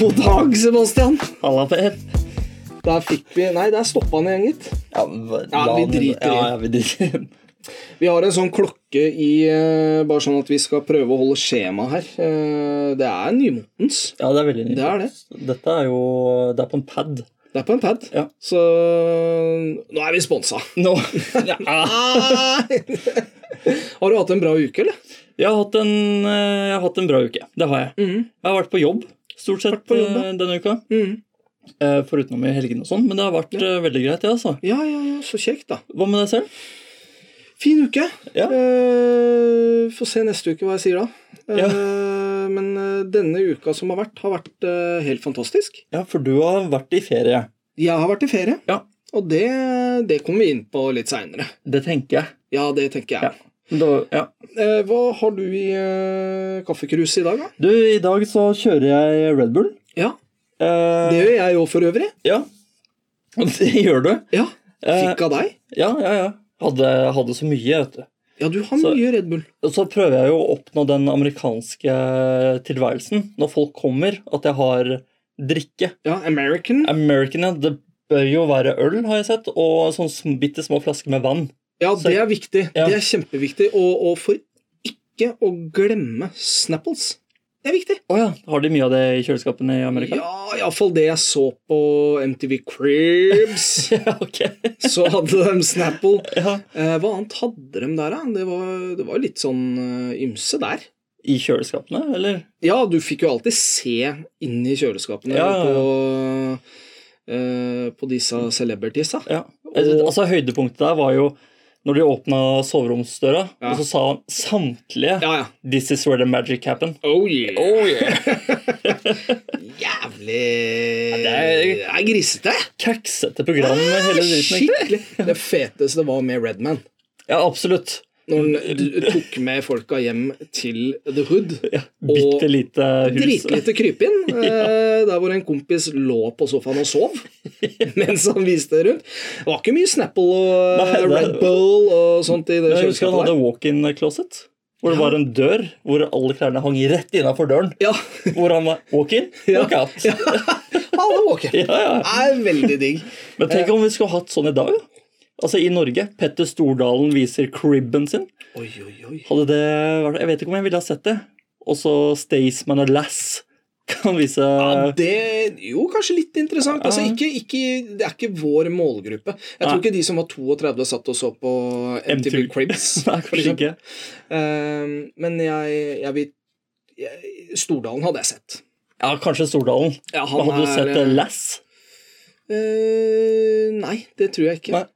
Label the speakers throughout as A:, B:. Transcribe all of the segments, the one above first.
A: God dag, Sebastian.
B: Halla, Per.
A: Der fikk vi Nei, der stoppa han igjen, gitt.
B: Ja, men hva-
A: Ja,
B: la
A: vi
B: han-
A: driter i.
B: ja, ja, vi driter i.
A: Vi har en sånn klokke i eh, Bare sånn at vi skal prøve å holde skjema her. Eh, Det er nymotens.
B: Ja, det er veldig nytt.
A: Det er det.
B: Dette er jo Det er på en pad.
A: Det er på en pad.
B: Ja.
A: Så eh, nå er vi sponsa.
B: Nå ja.
A: har du hatt en bra uke, eller?
B: jeg, har hatt en, eh, jeg har hatt en bra uke. Det har jeg.
A: Mhm.
B: Jeg har vært på jobb stort sett
A: Vært på jobb, Mm.
B: eh, denne uka. Eh, Foruten i helgene og sånn, men det har vært eh, veldig greit, det, altså.
A: Ja, ja, ja. Så kjekt, da.
B: Hva med deg selv?
A: Fin uke.
B: Ja.
A: Eh, Får se neste uke hva jeg sier da. Eh,
B: Ja.
A: Men eh, denne uka som har vært, har vært eh, helt fantastisk.
B: Ja, for du har vært i ferie.
A: Jeg har vært i ferie,
B: Ja.
A: og det, det kommer vi inn på litt seinere.
B: Det tenker jeg.
A: Ja, det tenker jeg.
B: Da, ja.
A: Eh, Hva har du i eh, kaffekruset i dag, da?
B: Du, i dag så kjører jeg Red Bull.
A: Ja,
B: Eh,
A: Det gjør jeg òg for øvrig.
B: Ja. Det gjør du.
A: Ja,
B: Eh,
A: Fikk av deg.
B: ja, ja, ja. Hadde, hadde så mye, vet du.
A: Ja, du har
B: så-
A: mye Red Bull.
B: Og så prøver jeg jo å oppnå den amerikanske tilværelsen når folk kommer, at jeg har drikke.
A: Ja, American.
B: American, ja, det bør jo være øl, har jeg sett, og sånn sm- bitte små flasker med vann.
A: Ja,
B: så-
A: det er viktig.
B: Ja.
A: Det er kjempeviktig. Og, og for ikke å glemme Snapples. Det er viktig.
B: Å ja, har de mye av det i kjøleskapene i Amerika?
A: Ja, iallfall det jeg så på MTV Cribs.
B: Ja, ok.
A: Så hadde de Snapple.
B: Ja.
A: Eh, hva annet hadde de der, da? Det var, det var litt sånn eh, ymse der.
B: I kjøleskapene, eller?
A: Ja, du fikk jo alltid se inn i kjøleskapene
B: Ja, ja, ja.
A: på eh, på disse celebritiesa.
B: Ja. Altså, høydepunktet der var jo når de åpna soveromsdøra,
A: Ja.
B: og så sa han samtlige
A: Ja, ja.
B: 'This is where the magic happened'.
A: Oh yeah.
B: Oh yeah!
A: Jævlig
B: det er-
A: Det er grisete.
B: Kaksete program med
A: Ah,
B: hele dritten, egentlig.
A: Skikkelig. Det feteste var med Redman.
B: Ja, absolutt.
A: Når han d- tok med folka hjem til The Hood.
B: Bitte lite hus.
A: Dritlite krypinn. eh, Der hvor en kompis lå på sofaen og sov mens han viste det rundt. Det var ikke mye Snapple og eh,
B: Nei, det-
A: Red Bull og sånt i det
B: Jeg husker han
A: kjøleskapet
B: hadde
A: der.
B: walk-in-closet. Hvor det var en dør hvor alle klærne hang rett innafor døren.
A: Ja,
B: Hvor han var walk-in, walk-out. Ja.
A: han var våken.
B: Ja,
A: Det er veldig digg.
B: Men tenk om vi skulle hatt sånn i dag. da. Altså I Norge. Petter Stordalen viser cribben sin.
A: Oi, oi, oi.
B: Hadde det vært Jeg vet ikke om jeg ville ha sett det. Og så Staysman og Lass kan vise
A: Ja, det jo kanskje litt interessant. Altså,
B: Ja.
A: ikke, ikke, det er ikke vår målgruppe. Jeg tror
B: Nei.
A: ikke de som var 32 satt og så på MTV
B: MTV.
A: Cribs.
B: Nei,
A: for
B: kanskje
A: eksempel.
B: ikke.
A: Ehm, men jeg, jeg vil jeg, Stordalen hadde jeg sett.
B: Ja, kanskje Stordalen.
A: Ja, han
B: Men hadde du
A: er-
B: sett eh, Lass?
A: Eh, nei, det tror jeg ikke.
B: Nei.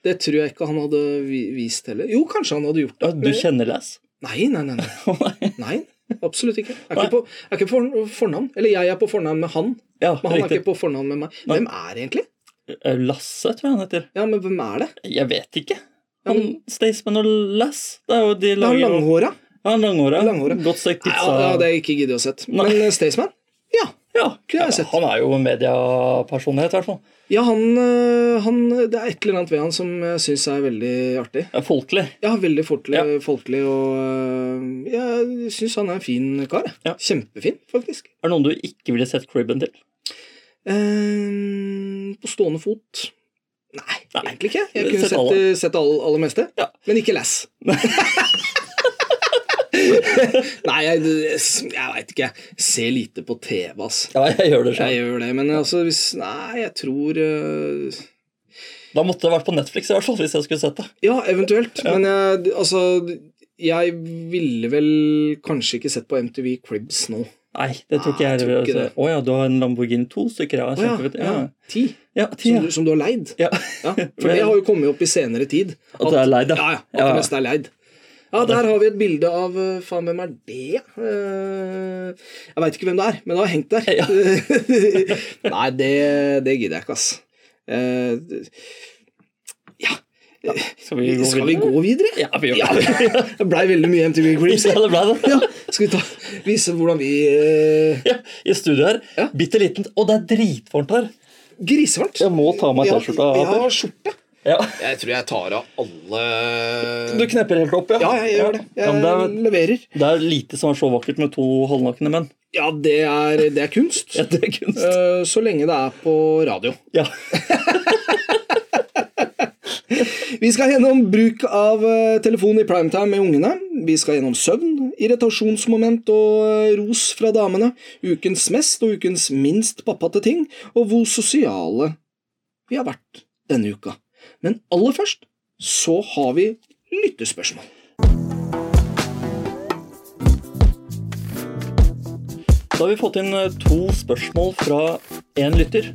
A: Det tror jeg ikke han hadde vi- vist heller. Jo, kanskje han hadde gjort
B: Ja,
A: det.
B: du kjenner Lass?
A: Nei, nei, nei. nei. nei absolutt ikke. Jeg er
B: Nei.
A: ikke, på, jeg er ikke på fornavn. Eller jeg er på fornavn med han,
B: Ja,
A: men han er
B: riktig.
A: ikke på fornavn med meg.
B: Nei.
A: Hvem er egentlig?
B: Eh, Lasse, tror jeg han heter.
A: Ja, men hvem er det?
B: Jeg vet ikke.
A: Ja,
B: Han,
A: men-
B: Staysman og Lass. Det er jo de
A: Det er
B: lager
A: han langhåra.
B: Ja, langhåra.
A: Langhåra.
B: Godt stekt
A: Nei,
B: pizza.
A: Ja, ja, det har jeg ikke giddet å sett.
B: Nei.
A: Men eh, Staysman? Ja.
B: Ja,
A: kunne jeg
B: ja,
A: sett.
B: Han er jo en mediepersonlighet, i hvert fall.
A: ja han, eh, han, det er et eller annet ved han som jeg syns er veldig artig.
B: Ja, Folkelig.
A: Ja, veldig folkelig,
B: Ja.
A: folkelig og eh, Jeg syns han er en fin kar. jeg.
B: Ja.
A: Kjempefin, faktisk.
B: Er det noen du ikke ville sett cribben til?
A: Eh, på stående fot Nei,
B: Nei.
A: egentlig ikke. Jeg
B: Sett
A: kunne sett,
B: alle.
A: eh, sett det all, aller meste,
B: Ja.
A: men ikke Lass. Nei, jeg, jeg veit ikke. Jeg ser lite på TV, ass.
B: Ja, jeg gjør det
A: Jeg gjør det, men altså hvis Nei, jeg tror eh,
B: Da måtte det vært på Netflix, i hvert fall, hvis jeg skulle sett det.
A: Ja, eventuelt. Men jeg, altså Jeg ville vel kanskje ikke sett på MTV Cribs nå.
B: Nei, det tror ikke
A: Nei,
B: jeg
A: jeg tror ikke
B: heller. Altså,
A: det.
B: Å ja, du har en Lamborghini to stykker, ja.
A: Å ja,
B: Kjempefett.
A: ja.
B: Ja,
A: Ti,
B: ja. ti,
A: som
B: ja.
A: du, som du har leid.
B: ja.
A: Ja, for det har jo kommet opp i senere tid.
B: At det er leid, ja.
A: Ja, ja, at
B: Ja, ja.
A: det meste er leid. Ja, der har vi et bilde av eh, Faen, hvem er det? Eh, Jeg veit ikke hvem det er, men det har hengt der.
B: Ja.
A: Nei, det, det gidder jeg ikke, ass. Eh, Ja.
B: Skal vi gå
A: Skal vi gå videre?
B: Ja, vi gjør
A: Ja,
B: det.
A: det blei veldig mye MTV Cribs.
B: Ja, det ble det.
A: Ja, skal vi ta, vise hvordan vi eh,
B: Ja, I studio her.
A: Ja.
B: Bitte liten. Å, det er dritvarmt her.
A: Grisvarmt.
B: Jeg må ta av meg
A: Vi har-
B: T-skjorta.
A: Vi
B: Per.
A: har skjorte.
B: Ja.
A: Jeg tror jeg tar av alle
B: Du knepper helt opp, ja?
A: Ja, jeg gjør det.
B: Ja,
A: Jeg
B: men det, er,
A: leverer.
B: det er lite som er så vakkert med to halvnakne menn.
A: Ja, det er, det er kunst.
B: Ja, det er kunst.
A: Eh, Så lenge det er på radio.
B: Ja.
A: Vi skal gjennom bruk av eh, telefon i primetime med ungene. Vi skal gjennom søvn, irritasjonsmoment og eh, ros fra damene. Ukens mest og ukens minst pappate ting, og hvor sosiale vi har vært denne uka. Men aller først så har vi lyttespørsmål.
B: Da har vi fått inn eh, to spørsmål fra én lytter.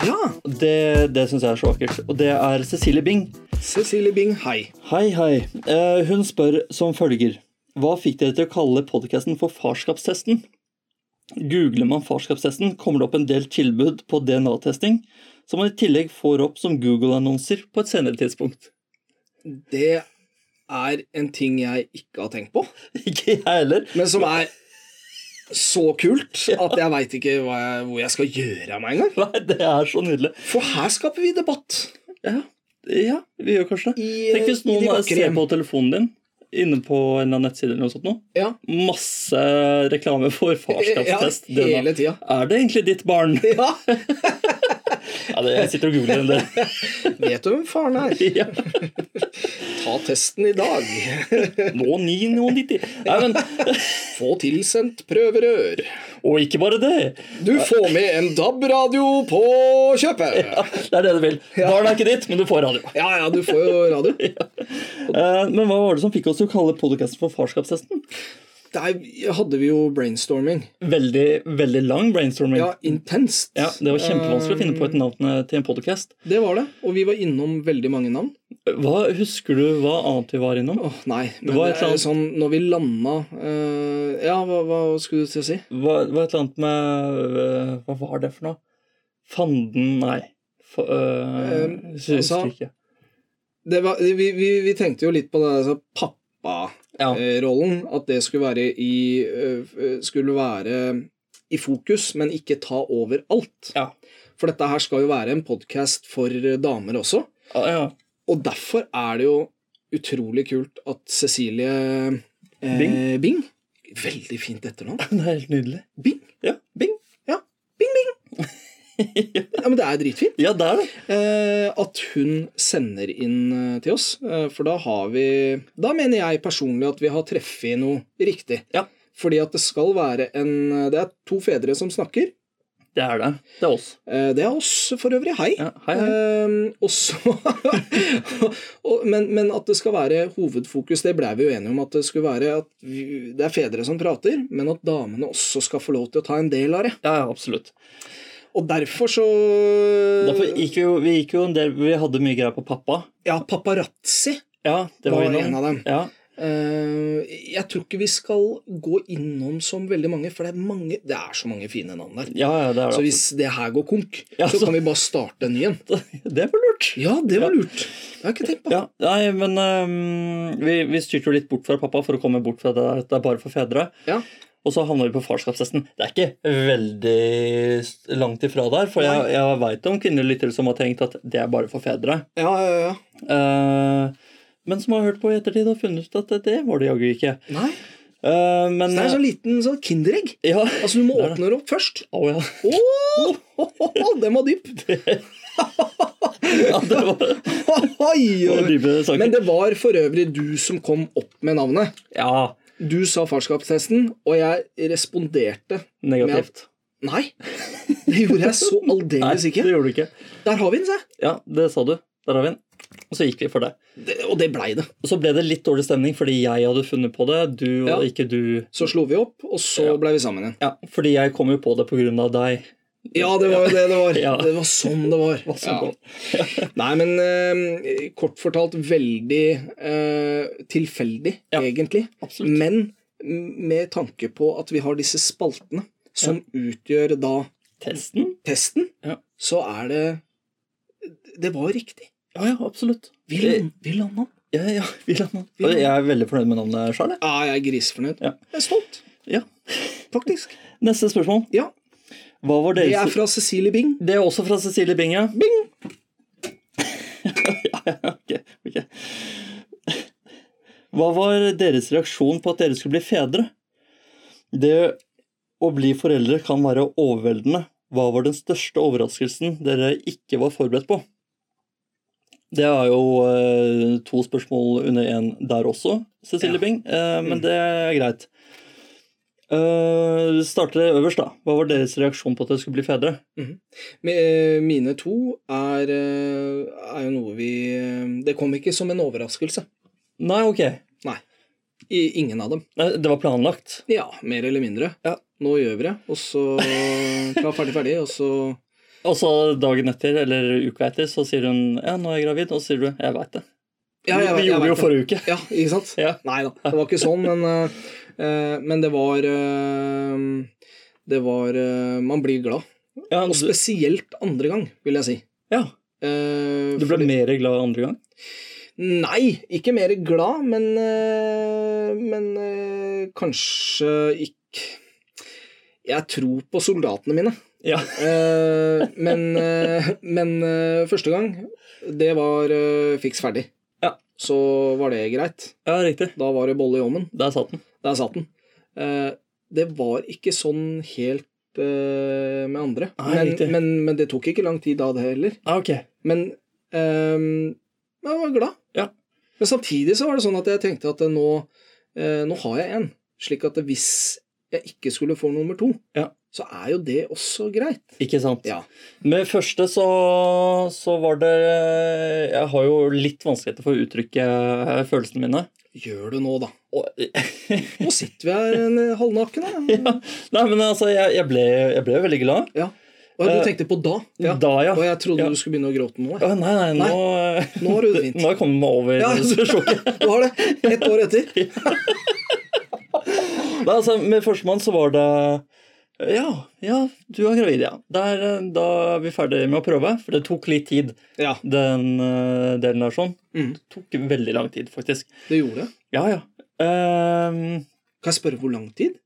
A: Ja,
B: Det, det syns jeg er så vakkert. Og det er Cecilie Bing.
A: Cecilie Bing, hei.
B: Hei, hei. Eh, hun spør som følger. Hva fikk dere til å kalle podkasten for farskapstesten? Googler man farskapstesten, kommer det opp en del tilbud på DNA-testing, som man i tillegg får opp som Google-annonser på et senere tidspunkt.
A: Det er en ting jeg ikke har tenkt på,
B: Ikke jeg heller.
A: men som er så kult at jeg veit ikke hva jeg, hvor jeg skal gjøre av meg engang.
B: Nei, det er så nydelig.
A: For her skaper vi debatt.
B: Ja, ja vi gjør kanskje det.
A: I,
B: Tenk hvis
A: i de
B: noen
A: vakre
B: ser
A: hjem.
B: på telefonen din inne på en eller annen nettside eller noe sånt nå.
A: Ja.
B: Masse reklame for farskapstest.
A: Ja,
B: DNA.
A: hele tida.
B: Er det egentlig ditt barn?
A: Ja.
B: Ja, det, jeg sitter og googler en del.
A: Vet du hvem faren er?
B: Ja.
A: Ta testen i dag.
B: Nå 9, nå 90. Nei, men,
A: Få tilsendt prøverør.
B: og ikke bare det.
A: Du får med en DAB-radio på kjøpet.
B: Ja, det er det du vil. Barnet er ikke ditt, men du får radio.
A: Ja ja, du får jo radio.
B: Eh, Men hva var det som fikk oss til å kalle podkasten for Farskapstesten?
A: Der hadde vi jo brainstorming.
B: Veldig, veldig lang brainstorming.
A: Ja, intenst.
B: Ja, det var kjempevanskelig å finne på et navn eh, til en podkast.
A: Det var det. Og vi var innom veldig mange navn.
B: Husker du hva annet vi var innom?
A: Åh, nei. Men det,
B: var et
A: er
B: eller
A: jo sånn når vi landa eh, Ja, hva, hva skulle du til å si?
B: Hva, det var et eller annet med eh, Hva var det for noe? Fanden Nei. Fa, eh,
A: Eh,
B: husker
A: altså-
B: ikke.
A: Det var, vi, vi, vi tenkte jo litt på det der altså,
B: Ja.
A: Eh. pappa-rollen. At det skulle være, i, eh, skulle være i fokus, men ikke ta over alt.
B: Ja.
A: For dette her skal jo være en podkast for damer også.
B: Ah, ja.
A: Og derfor er det jo utrolig kult at Cecilie eh, Bing.
B: Bing.
A: Veldig fint etternavn.
B: Det er helt nydelig.
A: Bing.
B: Ja, Bing.
A: Ja, men det er dritfint.
B: Ja, det er det.
A: Eh, at hun sender inn eh, til oss. Eh, for da har vi Da mener jeg personlig at vi har treffet noe riktig.
B: Ja.
A: Fordi at det skal være en eh, Det er to fedre som snakker.
B: Det er det. Det er oss.
A: Eh, det er oss for øvrig. Hei.
B: Ja, hei, hei.
A: Eh, og så og- men, men at det skal være hovedfokus, det blei vi jo enige om. At det skulle være at vi, det er fedre som prater, men at damene også skal få lov til å ta en del av det.
B: Ja, ja, absolutt.
A: Og derfor så
B: Derfor gikk vi, jo, vi gikk jo en del Vi hadde mye greier på pappa.
A: Ja, paparazzi
B: Ja, det
A: var
B: var, innom.
A: en av dem.
B: Ja,
A: Eh, jeg tror ikke vi skal gå innom som veldig mange, for det er, mange, det er så mange fine navn der.
B: ja, ja, det er
A: Så
B: det.
A: hvis det her går konk,
B: Ja,
A: så
B: så-
A: kan vi bare starte en ny en.
B: absolutt. Det var lurt.
A: Ja, det var lurt. Det har jeg ikke tenkt på.
B: Ja, nei, men øhm, vi, vi styrte jo litt bort fra pappa for å komme bort fra det der at det er bare for fedre.
A: Ja.
B: Og så havna vi på farskapstesten. Det er ikke veldig s- langt ifra der, for jeg,
A: Nei.
B: jeg veit om kvinnelige lyttere som har tenkt at det er bare for fedre.
A: Ja, ja, ja.
B: Eh, men som har hørt på i ettertid og funnet ut at det var det jaggu ikke.
A: Nei.
B: Eh,
A: Så
B: men
A: det er en sånn liten sånn kinderegg.
B: Ja.
A: Altså, du må
B: Det er det.
A: åpne det opp først.
B: Å, ja.
A: Åh, den var dyp.
B: ja. Det var, det
A: Oi,
B: var
A: oi.
B: dype saker.
A: Men det var for øvrig du som kom opp med navnet.
B: Ja,
A: Du sa farskapstesten, og jeg responderte.
B: negativt.
A: Nei, det gjorde jeg så
B: Nei,
A: aldeles
B: det
A: ikke.
B: gjorde du ikke.
A: Der har vi den, se.
B: Ja, det sa du. Der har vi den. Og så gikk vi for det.
A: Det, og det blei det.
B: Og så ble det litt dårlig stemning fordi jeg hadde funnet på det, du og
A: Ja.
B: ikke du.
A: Så slo vi opp, og så
B: Ja.
A: blei vi sammen igjen.
B: Ja, fordi jeg kom jo på det på grunn av deg.
A: Ja, det var jo det det var.
B: Ja.
A: Det var sånn det var.
B: Hva som
A: Ja.
B: kom.
A: Nei, men eh, kort fortalt veldig eh, tilfeldig,
B: Ja.
A: egentlig.
B: Absolutt.
A: Men med tanke på at vi har disse spaltene, som utgjør da
B: Testen?
A: testen,
B: Ja.
A: så er det Det var riktig.
B: Ja, ja, absolutt.
A: Vi,
B: Eh,
A: land- vi landa.
B: Ja, ja, vi la den.
A: Vi la den.
B: Jeg er veldig fornøyd med navnet sjøl.
A: Ja, jeg er grisefornøyd.
B: Ja.
A: Jeg er stolt,
B: Ja.
A: faktisk.
B: Neste spørsmål.
A: Ja.
B: Hva var
A: Det
B: deres
A: er fra Cecilie Bing.
B: Det er også fra Cecilie Binge. Bing! ok, ok. Hva var deres reaksjon på at dere skulle bli fedre? Det Å bli foreldre kan være overveldende. Hva var den største overraskelsen dere ikke var forberedt på? Det er jo eh, to spørsmål under én der også, Cecilie
A: Ja.
B: Bing, eh, men
A: Mm.
B: det er greit. Uh, starter øverst, da. Hva var deres reaksjon på at dere skulle bli fedre?
A: Me- eh, Mine to er, eh, er jo noe vi eh, Det kom ikke som en overraskelse.
B: Nei, ok.
A: I ingen av dem.
B: Nei, det var planlagt.
A: Ja, mer eller mindre.
B: Ja.
A: Nå gjør vi det, og så klar, ferdig, ferdig, og så
B: Og så dagen etter, eller uka etter, så sier hun ja, nå er jeg gravid. Og så sier du jeg veit det.
A: Ja, jeg-
B: vi
A: jeg
B: gjorde det
A: vet
B: jo forrige uke.
A: Ja, ikke sant?
B: Ja.
A: Nei da, det var ikke sånn, men, eh, eh, men det var eh, Det var eh, Man blir glad.
B: Ja,
A: Og
B: du,
A: spesielt andre gang, vil jeg si.
B: ja,
A: Eh,
B: du ble
A: fordi-
B: mer glad andre gang?
A: Nei, ikke mer glad, men eh, Men eh, kanskje ikke Jeg tror på soldatene mine.
B: Ja.
A: Eh, men eh, men eh, første gang, det var eh, fiks ferdig.
B: Ja.
A: Så var det greit.
B: ja, riktig.
A: Da var det bolle i ommen.
B: Der satt den.
A: Der satt den. Eh, det var ikke sånn helt eh, med andre.
B: Nei, riktig.
A: men, men, men det tok ikke lang tid da, det heller.
B: Ah, ok.
A: Men ehm, jeg var glad.
B: Ja.
A: Men samtidig så var det sånn at jeg tenkte at eh, nå, eh, nå har jeg en. Slik at hvis jeg ikke skulle få nummer to,
B: Ja.
A: så er jo det også greit.
B: Ikke sant.
A: Ja.
B: Med første så, så var det Jeg har jo litt vanskeligheter for å uttrykke eh, følelsene mine.
A: Gjør det nå, da.
B: Og,
A: Nå sitter vi her en eh, halvnaken. Da.
B: ja. Nei, men altså, jeg, jeg, ble, jeg ble veldig glad.
A: Og
B: Eh,
A: du tenkte på da. Ja.
B: Da, ja.
A: Og jeg trodde
B: Ja.
A: du skulle begynne å gråte nå. jeg.
B: Å, nei, nei, nå,
A: Nå har du det fint.
B: Nå har jeg kommet meg over
A: Ja.
B: sjokket.
A: Du har det. Ett år etter.
B: Nei, altså, med førstemann så var det Ja, ja, du er gravid, ja. Der, eh, da er vi ferdig med å prøve, for det tok litt tid,
A: Ja.
B: den eh, delen der sånn.
A: Mm.
B: Det tok veldig lang tid, faktisk.
A: Det gjorde det.
B: Ja, ja. Ehm,
A: Kan jeg spørre hvor lang tid?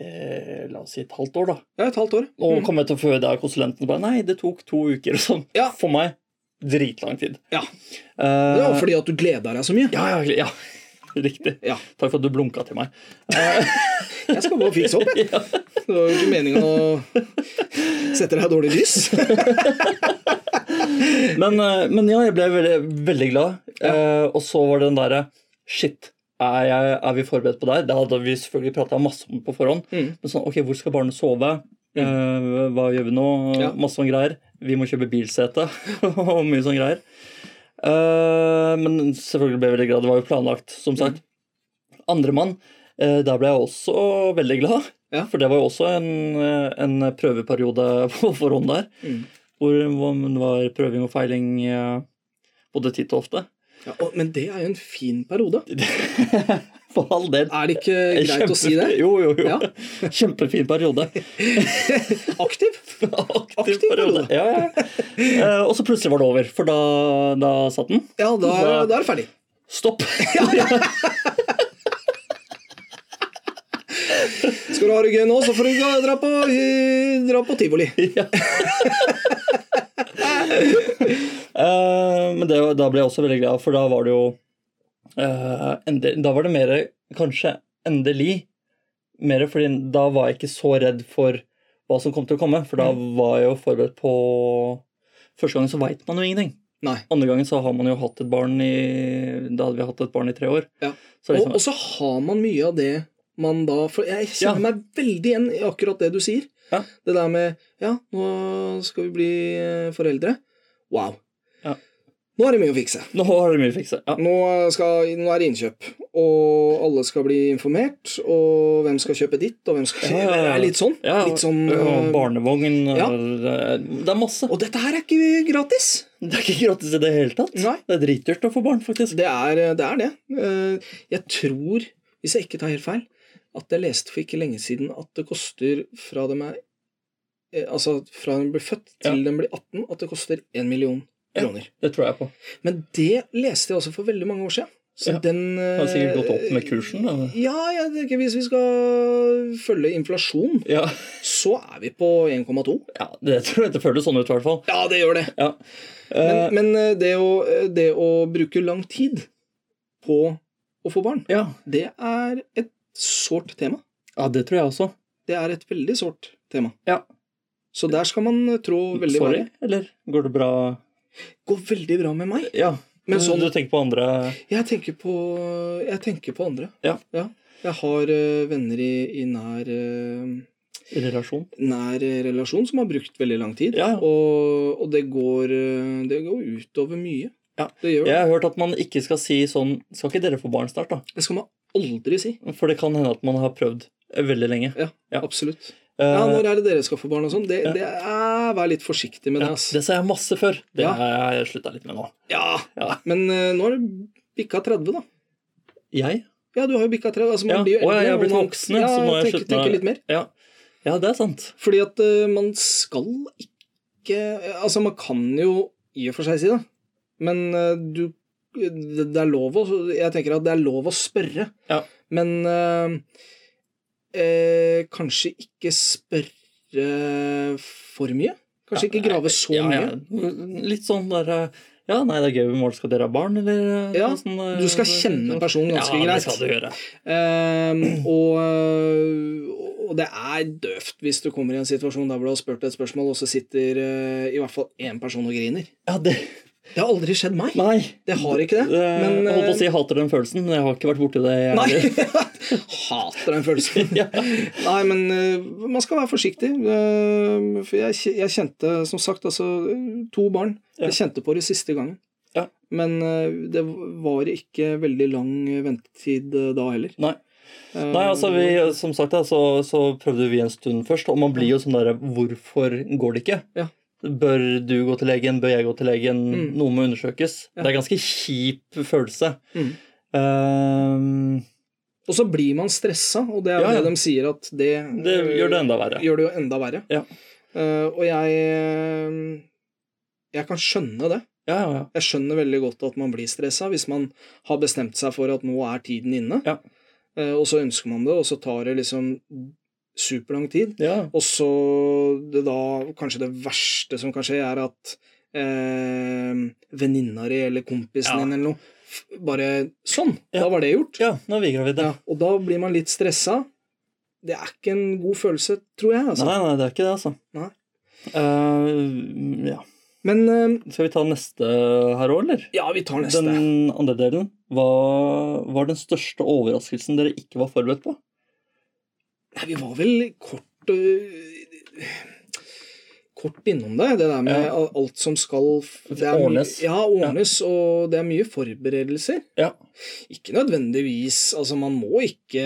B: eh, la oss si et halvt år, da.
A: Ja, et halvt år.
B: Og
A: Mm.
B: kom jeg til å føde der konsulenten bare Nei, det tok to uker og sånn.
A: Ja.
B: For meg dritlang tid.
A: Ja.
B: Eh,
A: Det var fordi at du gleda deg så mye.
B: ja, ja, ja. Riktig.
A: Ja.
B: Takk for at du blunka til meg.
A: Jeg skal bare fikse opp, jeg. Det var jo ikke meninga å sette deg i dårlig lys.
B: Men, eh, men ja, jeg ble veldig, veldig glad. Eh, og så var det den derre Shit, er, jeg, er vi forberedt på deg? Det hadde vi selvfølgelig prata masse om på forhånd.
A: Mm.
B: Men sånn, ok, Hvor skal barnet sove? Eh, hva gjør vi nå?
A: Ja.
B: Masse sånne greier. Vi må kjøpe bilsete og mye sånne greier. Eh, men selvfølgelig ble jeg veldig glad. Det var jo planlagt, som sagt. Andremann, eh, der ble jeg også veldig glad.
A: Ja.
B: For det var jo også en, eh, en prøveperiode på forhånd der.
A: Mm.
B: Hvor hvor det var prøving og feiling eh, både titt og ofte.
A: Ja, og, men det er jo en fin periode.
B: For all del.
A: Er det ikke greit å si det?
B: Jo, jo, jo.
A: Ja.
B: Kjempefin periode.
A: Aktiv?
B: Aktiv,
A: Aktiv periode.
B: Ja, ja. Eh, og så plutselig var det over, for da, da satt den.
A: Ja, da, er- da er det ferdig.
B: Stopp!
A: Skal du ha det gøy nå, så får du gå- dra på, eh, dra på tivoli.
B: Ja. Eh, men det, da ble jeg også veldig glad, for da var det jo eh, endel- Da var det mer kanskje endelig. Mer fordi da var jeg ikke så redd for hva som kom til å komme, for da
A: Mm.
B: var jeg jo forberedt på Første gangen så veit man jo ingenting.
A: Nei.
B: Andre gangen så har man jo hatt et barn i Da hadde vi hatt et barn i tre år.
A: Ja.
B: Så liksom,
A: Og, og så har man mye av det man da For jeg kjenner
B: Ja.
A: meg veldig igjen i akkurat det du sier.
B: Ja.
A: Det der med Ja, nå skal vi bli eh, foreldre. Wow.
B: Ja.
A: Nå er det mye å fikse.
B: Nå har du mye å fikse. Ja.
A: Nå, skal, nå er det innkjøp, og alle skal bli informert, og hvem skal kjøpe ditt, og hvem skal
B: Ja, ja, ja.
A: Det er litt sånn.
B: Ja,
A: litt sånn
B: og
A: eh,
B: barnevogn og
A: ja.
B: Det er masse.
A: Og dette her er ikke gratis.
B: Det er ikke gratis i det hele tatt.
A: Nei.
B: Det er dritdyrt å få barn, faktisk.
A: Det er det. Er det. Eh, Jeg tror, hvis jeg ikke tar helt feil, at jeg leste for ikke lenge siden at det koster fra dem er eh, Altså fra den blir født til den blir 18, at det koster 1 million
B: Ja.
A: kroner.
B: Det tror jeg på.
A: Men det leste jeg også for veldig mange år siden. Så
B: Ja.
A: den eh,
B: Det har sikkert gått opp med kursen. Men...
A: Ja, jeg tenker hvis vi skal følge inflasjon,
B: Ja.
A: så er vi på 1,2.
B: ja, det tror jeg det føles sånn ut, i hvert fall.
A: Ja, det gjør det.
B: Ja.
A: Men,
B: Eh,
A: men eh, det, å, eh, det å bruke lang tid på å få barn,
B: ja.
A: det er et sårt tema.
B: Ja, det tror jeg også.
A: Det er et veldig sårt tema.
B: Ja.
A: Så der skal man eh, trå veldig
B: Sorry,
A: varlig.
B: eller går det bra?
A: Går veldig bra med meg.
B: Ja. Eh,
A: Men sånn,
B: Du tenker på andre
A: jeg tenker på, jeg tenker på andre.
B: Ja.
A: Jeg har eh, venner i, i nær, eh,
B: relasjon?
A: nær eh, relasjon som har brukt veldig lang tid.
B: Ja.
A: Og, og det, går, eh, det går utover mye.
B: Ja.
A: Det gjør det.
B: Jeg har hørt at man ikke skal si sånn Skal ikke dere få barn snart, da?
A: Det skal man aldri si.
B: For det kan hende at man har prøvd eh, veldig lenge.
A: Ja,
B: Ja.
A: absolutt.
B: Eh,
A: Ja, når er det dere skal få barn og sånn? Det,
B: Ja.
A: det er, vær litt forsiktig med
B: ja,
A: det, ass.
B: det sa jeg masse før. Det
A: Ja.
B: har jeg slutta litt med nå.
A: Ja,
B: Ja.
A: men eh, nå er det bikka 30, da.
B: Jeg?
A: Ja, du har jo bikka 30. Altså, man
B: Ja.
A: blir jo
B: Å, ja,
A: eldre,
B: jeg har
A: og
B: blitt
A: man-
B: voksen, så nå har jeg
A: tenker,
B: sluttet-
A: tenker litt mer.
B: Ja. ja, det er sant.
A: Fordi at eh, man skal ikke Altså, man kan jo i og for seg si det, men eh, du det det er lov å, jeg tenker at det er lov å spørre,
B: Ja.
A: men eh, eh, kanskje ikke spørre for mye? Kanskje ikke grave så
B: Ja,
A: mye?
B: ja. Litt sånn der eh, Ja, nei, det er gøy. I morgen skal dere ha barn, eller eh,
A: Ja,
B: noe sånn, eh,
A: Du skal kjenne personen ganske
B: Ja, det
A: greit.
B: skal du gjøre.
A: Ehm, og, øh, og det er døvt hvis du kommer i en situasjon der hvor du har spurt et spørsmål, og så sitter øh, i hvert fall én person og griner.
B: Ja, det
A: Det har aldri skjedd meg.
B: Nei.
A: Det har ikke det.
B: Eh,
A: Men,
B: jeg holdt på å
A: eh,
B: si jeg hater den følelsen, men jeg har ikke vært borti det. Jeg,
A: Nei. Hater den følelsen.
B: Ja.
A: Nei, men øh, man skal være forsiktig. Ehm, for jeg, kje- jeg kjente, som sagt, altså øh, to barn.
B: Ja.
A: Jeg kjente på det siste gangen.
B: Ja.
A: Men øh, det var ikke veldig lang ventetid øh, da heller. Eh,
B: Nei. Nei, altså vi, Som sagt da, så, så prøvde vi en stund først, og man blir jo sånn derre Hvorfor går det ikke?
A: Ja.
B: Bør du gå til legen? Bør jeg gå til legen?
A: Mm.
B: Noe må undersøkes. Det er ganske kjip følelse.
A: Mm.
B: Eh,
A: Og så blir man stressa, og det er jo
B: Ja, ja.
A: det de sier at det, eh,
B: det gjør det enda verre.
A: gjør det jo enda verre.
B: Ja.
A: Eh, og jeg eh, Jeg kan skjønne det.
B: Ja, ja, ja.
A: Jeg skjønner veldig godt at man blir stressa hvis man har bestemt seg for at nå er tiden inne,
B: Ja.
A: Eh, og så ønsker man det, og så tar det liksom superlang tid.
B: ja.
A: Og så det da kanskje det verste som kan skje, er at eh, venninna di eller kompisen
B: Ja.
A: din eller noe f- bare Sånn!
B: Ja.
A: Da var det gjort.
B: ja nå er vi gravide.
A: Ja, og da blir man litt stressa. Det er ikke en god følelse, tror jeg. Altså.
B: Nei, nei, det er ikke det, altså.
A: Nei.
B: Eh, ja.
A: Men eh,
B: Skal vi ta neste her òg, eller?
A: ja, vi tar neste.
B: Den andre delen. Hva var den største overraskelsen dere ikke var forberedt på?
A: Nei, vi var vel kort øh, Kort innom det. Det der med
B: Ja.
A: al- alt som skal f- det er mye-
B: Ordnes.
A: Ja, ordnes, og det er mye forberedelser.
B: Ja.
A: Ikke nødvendigvis Altså, man må ikke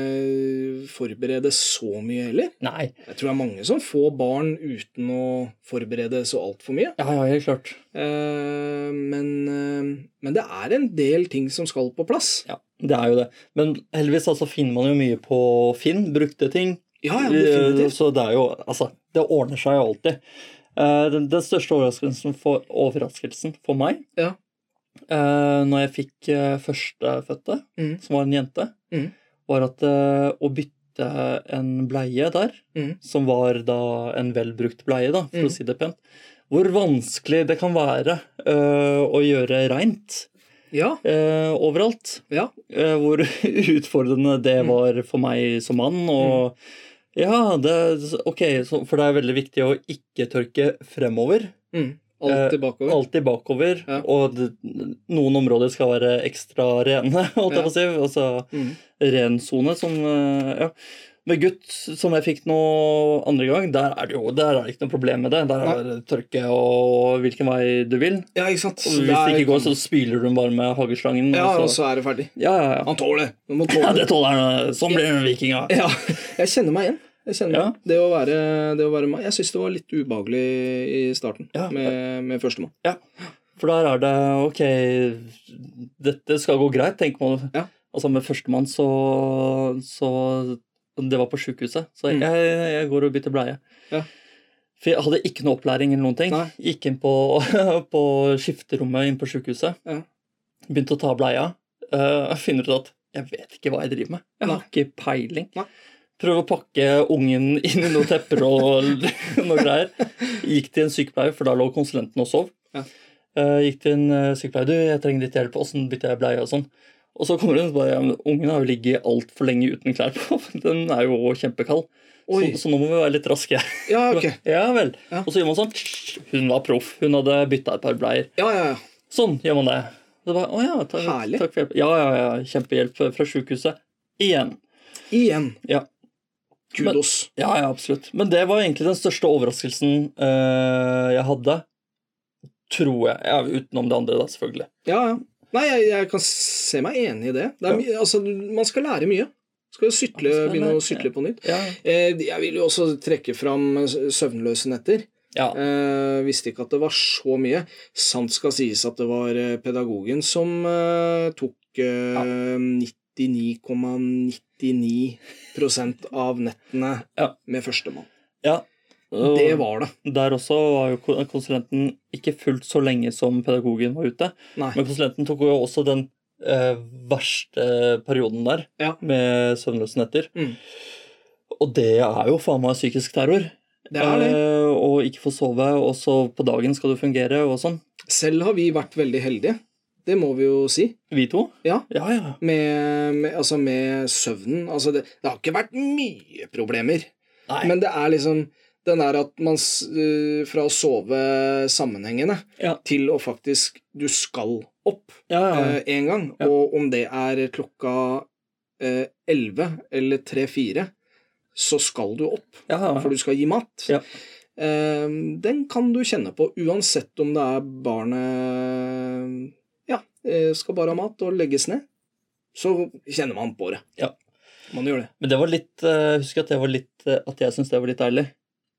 A: øh, forberede så mye heller.
B: Nei.
A: Jeg tror det er mange som får barn uten å forberede så altfor mye.
B: Ja, ja, helt klart.
A: Eh, men, eh, men det er en del ting som skal på plass.
B: Ja, det er jo det. Men heldigvis altså, finner man jo mye på Finn, brukte ting.
A: Ja, ja,
B: Eh,
A: definitivt.
B: Så det er jo Altså, det ordner seg jo alltid. Eh, Den, den største overraskelsen for, overraskelsen for meg
A: Ja.
B: eh, når jeg fikk eh, førstefødte,
A: Mhm.
B: som var en jente,
A: Mhm.
B: var at eh, å bytte en bleie der,
A: Mhm.
B: som var da en velbrukt bleie, da, for
A: Mhm.
B: å si det pent, hvor vanskelig det kan være eh, å gjøre reint
A: Ja,
B: eh, overalt.
A: ja.
B: Eh, hvor utfordrende det
A: Mm.
B: var for meg som mann. Og ja, det, ok, så, for det er veldig viktig å ikke tørke fremover.
A: Mm.
B: Eh,
A: Alt tilbakeover.
B: Alltid bakover.
A: Ja.
B: Og det, noen områder skal være ekstra rene, holdt jeg på å si. Altså
A: Mm.
B: ren sone som eh, Ja. Med gutt som jeg fikk nå andre gang, der er det jo der er det ikke noe problem med det. Der er det tørke og hvilken vei du vil.
A: Ja, ikke sant.
B: Og hvis det ikke går, så spyler du den bare med hageslangen.
A: Ja, altså.
B: og
A: og
B: så,
A: så er det ferdig.
B: ja, ja, ja.
A: Han tåler det. Du må
B: Ja,
A: tåle det.
B: det tåler han. Sånn blir han viking, ja.
A: Ja, jeg kjenner meg igjen. Jeg kjenner meg.
B: Ja.
A: Det, å være, det å være meg. Jeg syns det var litt ubehagelig i starten
B: Ja.
A: med, med førstemann.
B: For der er det ok, dette skal gå greit, tenker man.
A: Ja.
B: Altså med førstemann så, så Det var på sjukehuset, så
A: Mm.
B: jeg, jeg går og bytter bleie.
A: Ja.
B: For jeg hadde ikke noe opplæring eller noen ting.
A: Nei.
B: Gikk inn på, på skifterommet inne på sjukehuset.
A: Ja.
B: Begynte å ta bleia. eh, finner ut at jeg vet ikke hva jeg driver med. Jeg har
A: Nei.
B: ikke peiling.
A: Nei.
B: Prøve å pakke ungen inn i noen tepper og noe greier. Gikk til en sykepleier, for da lå konsulenten og sov.
A: Ja.
B: Eh, gikk til en eh, sykepleier. Du, jeg trenger litt hjelp. Åssen bytter jeg bleie og sånn? Og så kommer hun og bare ja, men Ungen har jo ligget altfor lenge uten klær på. Den er jo også kjempekald. Så,
A: Oi.
B: så nå må vi være litt raske.
A: Ja, ok.
B: Ja vel.
A: Ja.
B: Og så gjør man sånn. Hun var proff. Hun hadde bytta et par bleier.
A: Ja, ja, ja.
B: Sånn gjør man det. Så bare, å ja, takk,
A: Herlig.
B: takk for hjelp. Ja, ja, ja, kjempehjelp fra sykehuset. Igjen.
A: Igjen.
B: Ja.
A: Kudos.
B: Ja, ja, absolutt. Men det var egentlig den største overraskelsen eh, jeg hadde. Tror jeg. Ja, utenom det andre, da, selvfølgelig.
A: Ja, ja. Nei, jeg, jeg kan se meg enig i det. det er, my- altså, man skal lære mye. Skal jo sytle,
B: Man skal
A: begynne å
B: lære.
A: sykle på nytt.
B: Ja,
A: Eh, jeg vil jo også trekke fram eh, søvnløse netter.
B: ja.
A: Eh, visste ikke at det var så mye. Sant skal sies at det var eh, pedagogen som eh, tok eh, 99,99 av nettene
B: Ja.
A: med førstemann.
B: ja. Og
A: Det var det.
B: Der også var jo kon- konsulenten ikke fullt så lenge som pedagogen var ute.
A: Nei.
B: Men konsulenten tok jo også den eh, verste perioden der,
A: Ja.
B: med søvnløse netter.
A: Mm.
B: Og det er jo faen meg psykisk terror.
A: Det er det.
B: Eh, og ikke få sove, og så på dagen skal du fungere, og sånn.
A: Selv har vi vært veldig heldige. Det må vi jo si.
B: Vi to?
A: Ja.
B: Ja, ja.
A: Med, med, altså med søvnen. Altså det, det har ikke vært mye problemer.
B: Nei.
A: Men det er liksom den der at man s- øh, Fra å sove sammenhengende
B: Ja.
A: til å faktisk Du skal opp
B: ja, ja.
A: eh, en gang.
B: Ja.
A: Og om det er klokka eh, 11 eller 3-4, så skal du opp.
B: ja, ja.
A: For du skal gi mat.
B: Ja.
A: Eh, den kan du kjenne på uansett om det er barnet ja, eh, skal bare ha mat og legges ned. Så kjenner man på det.
B: Ja.
A: Man gjør det.
B: Men det var litt eh, Jeg husker at, det var litt, eh, at jeg syntes det var litt deilig.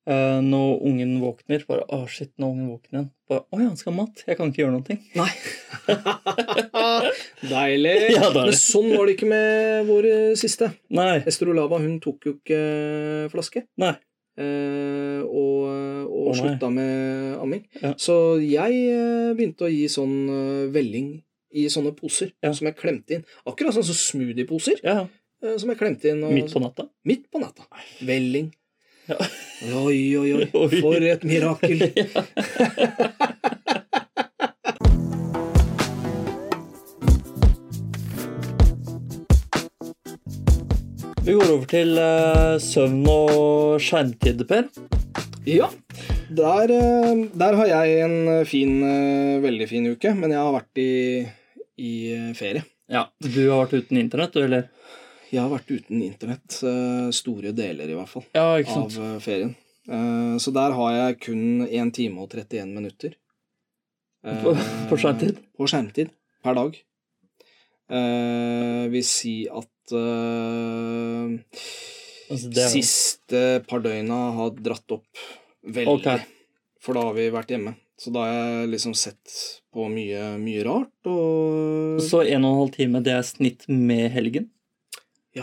B: Eh, når ungen våkner, bare Å, shit, nå er ungen våken igjen. Bare, Å ja, han skal ha mat. Jeg kan ikke gjøre noen ting.
A: Nei. deilig.
B: Ja, deilig.
A: Men sånn var det ikke med vår eh, siste.
B: Nei.
A: Ester Olava hun tok jo ikke eh, flaske.
B: Nei.
A: Eh, og og
B: Å, nei.
A: slutta med amming.
B: Ja.
A: Så jeg eh, begynte å gi sånn eh, velling i sånne poser
B: Ja.
A: som jeg klemte inn. Akkurat sånn som smoothieposer
B: Ja, ja.
A: eh, som jeg klemte inn. Og,
B: Midt på natta.
A: midt på natta. Velling.
B: Ja.
A: Oi, oi, oi.
B: Oi.
A: For et mirakel.
B: ja. Vi går over til eh, søvn og skjermtid, Per.
A: Ja. Der, eh, der har jeg en eh, fin, eh, veldig fin uke, men jeg har vært i, i eh, ferie.
B: Ja. Du har vært uten internett, du, eller?
A: Jeg har vært uten internett, eh, store deler i hvert fall,
B: Ja, ikke
A: av
B: sant.
A: eh, ferien. Eh, Så der har jeg kun 1 time og 31 minutter. Eh,
B: På- på skjermtid?
A: På skjermtid, per dag. Eh, Vil si at eh,
B: Altså, det er-
A: siste par døgna har dratt opp veldig.
B: Ok.
A: For da har vi vært hjemme. Så da har jeg liksom sett på mye, mye rart, og
B: Så en og en halv time, det er snitt med helgen?
A: det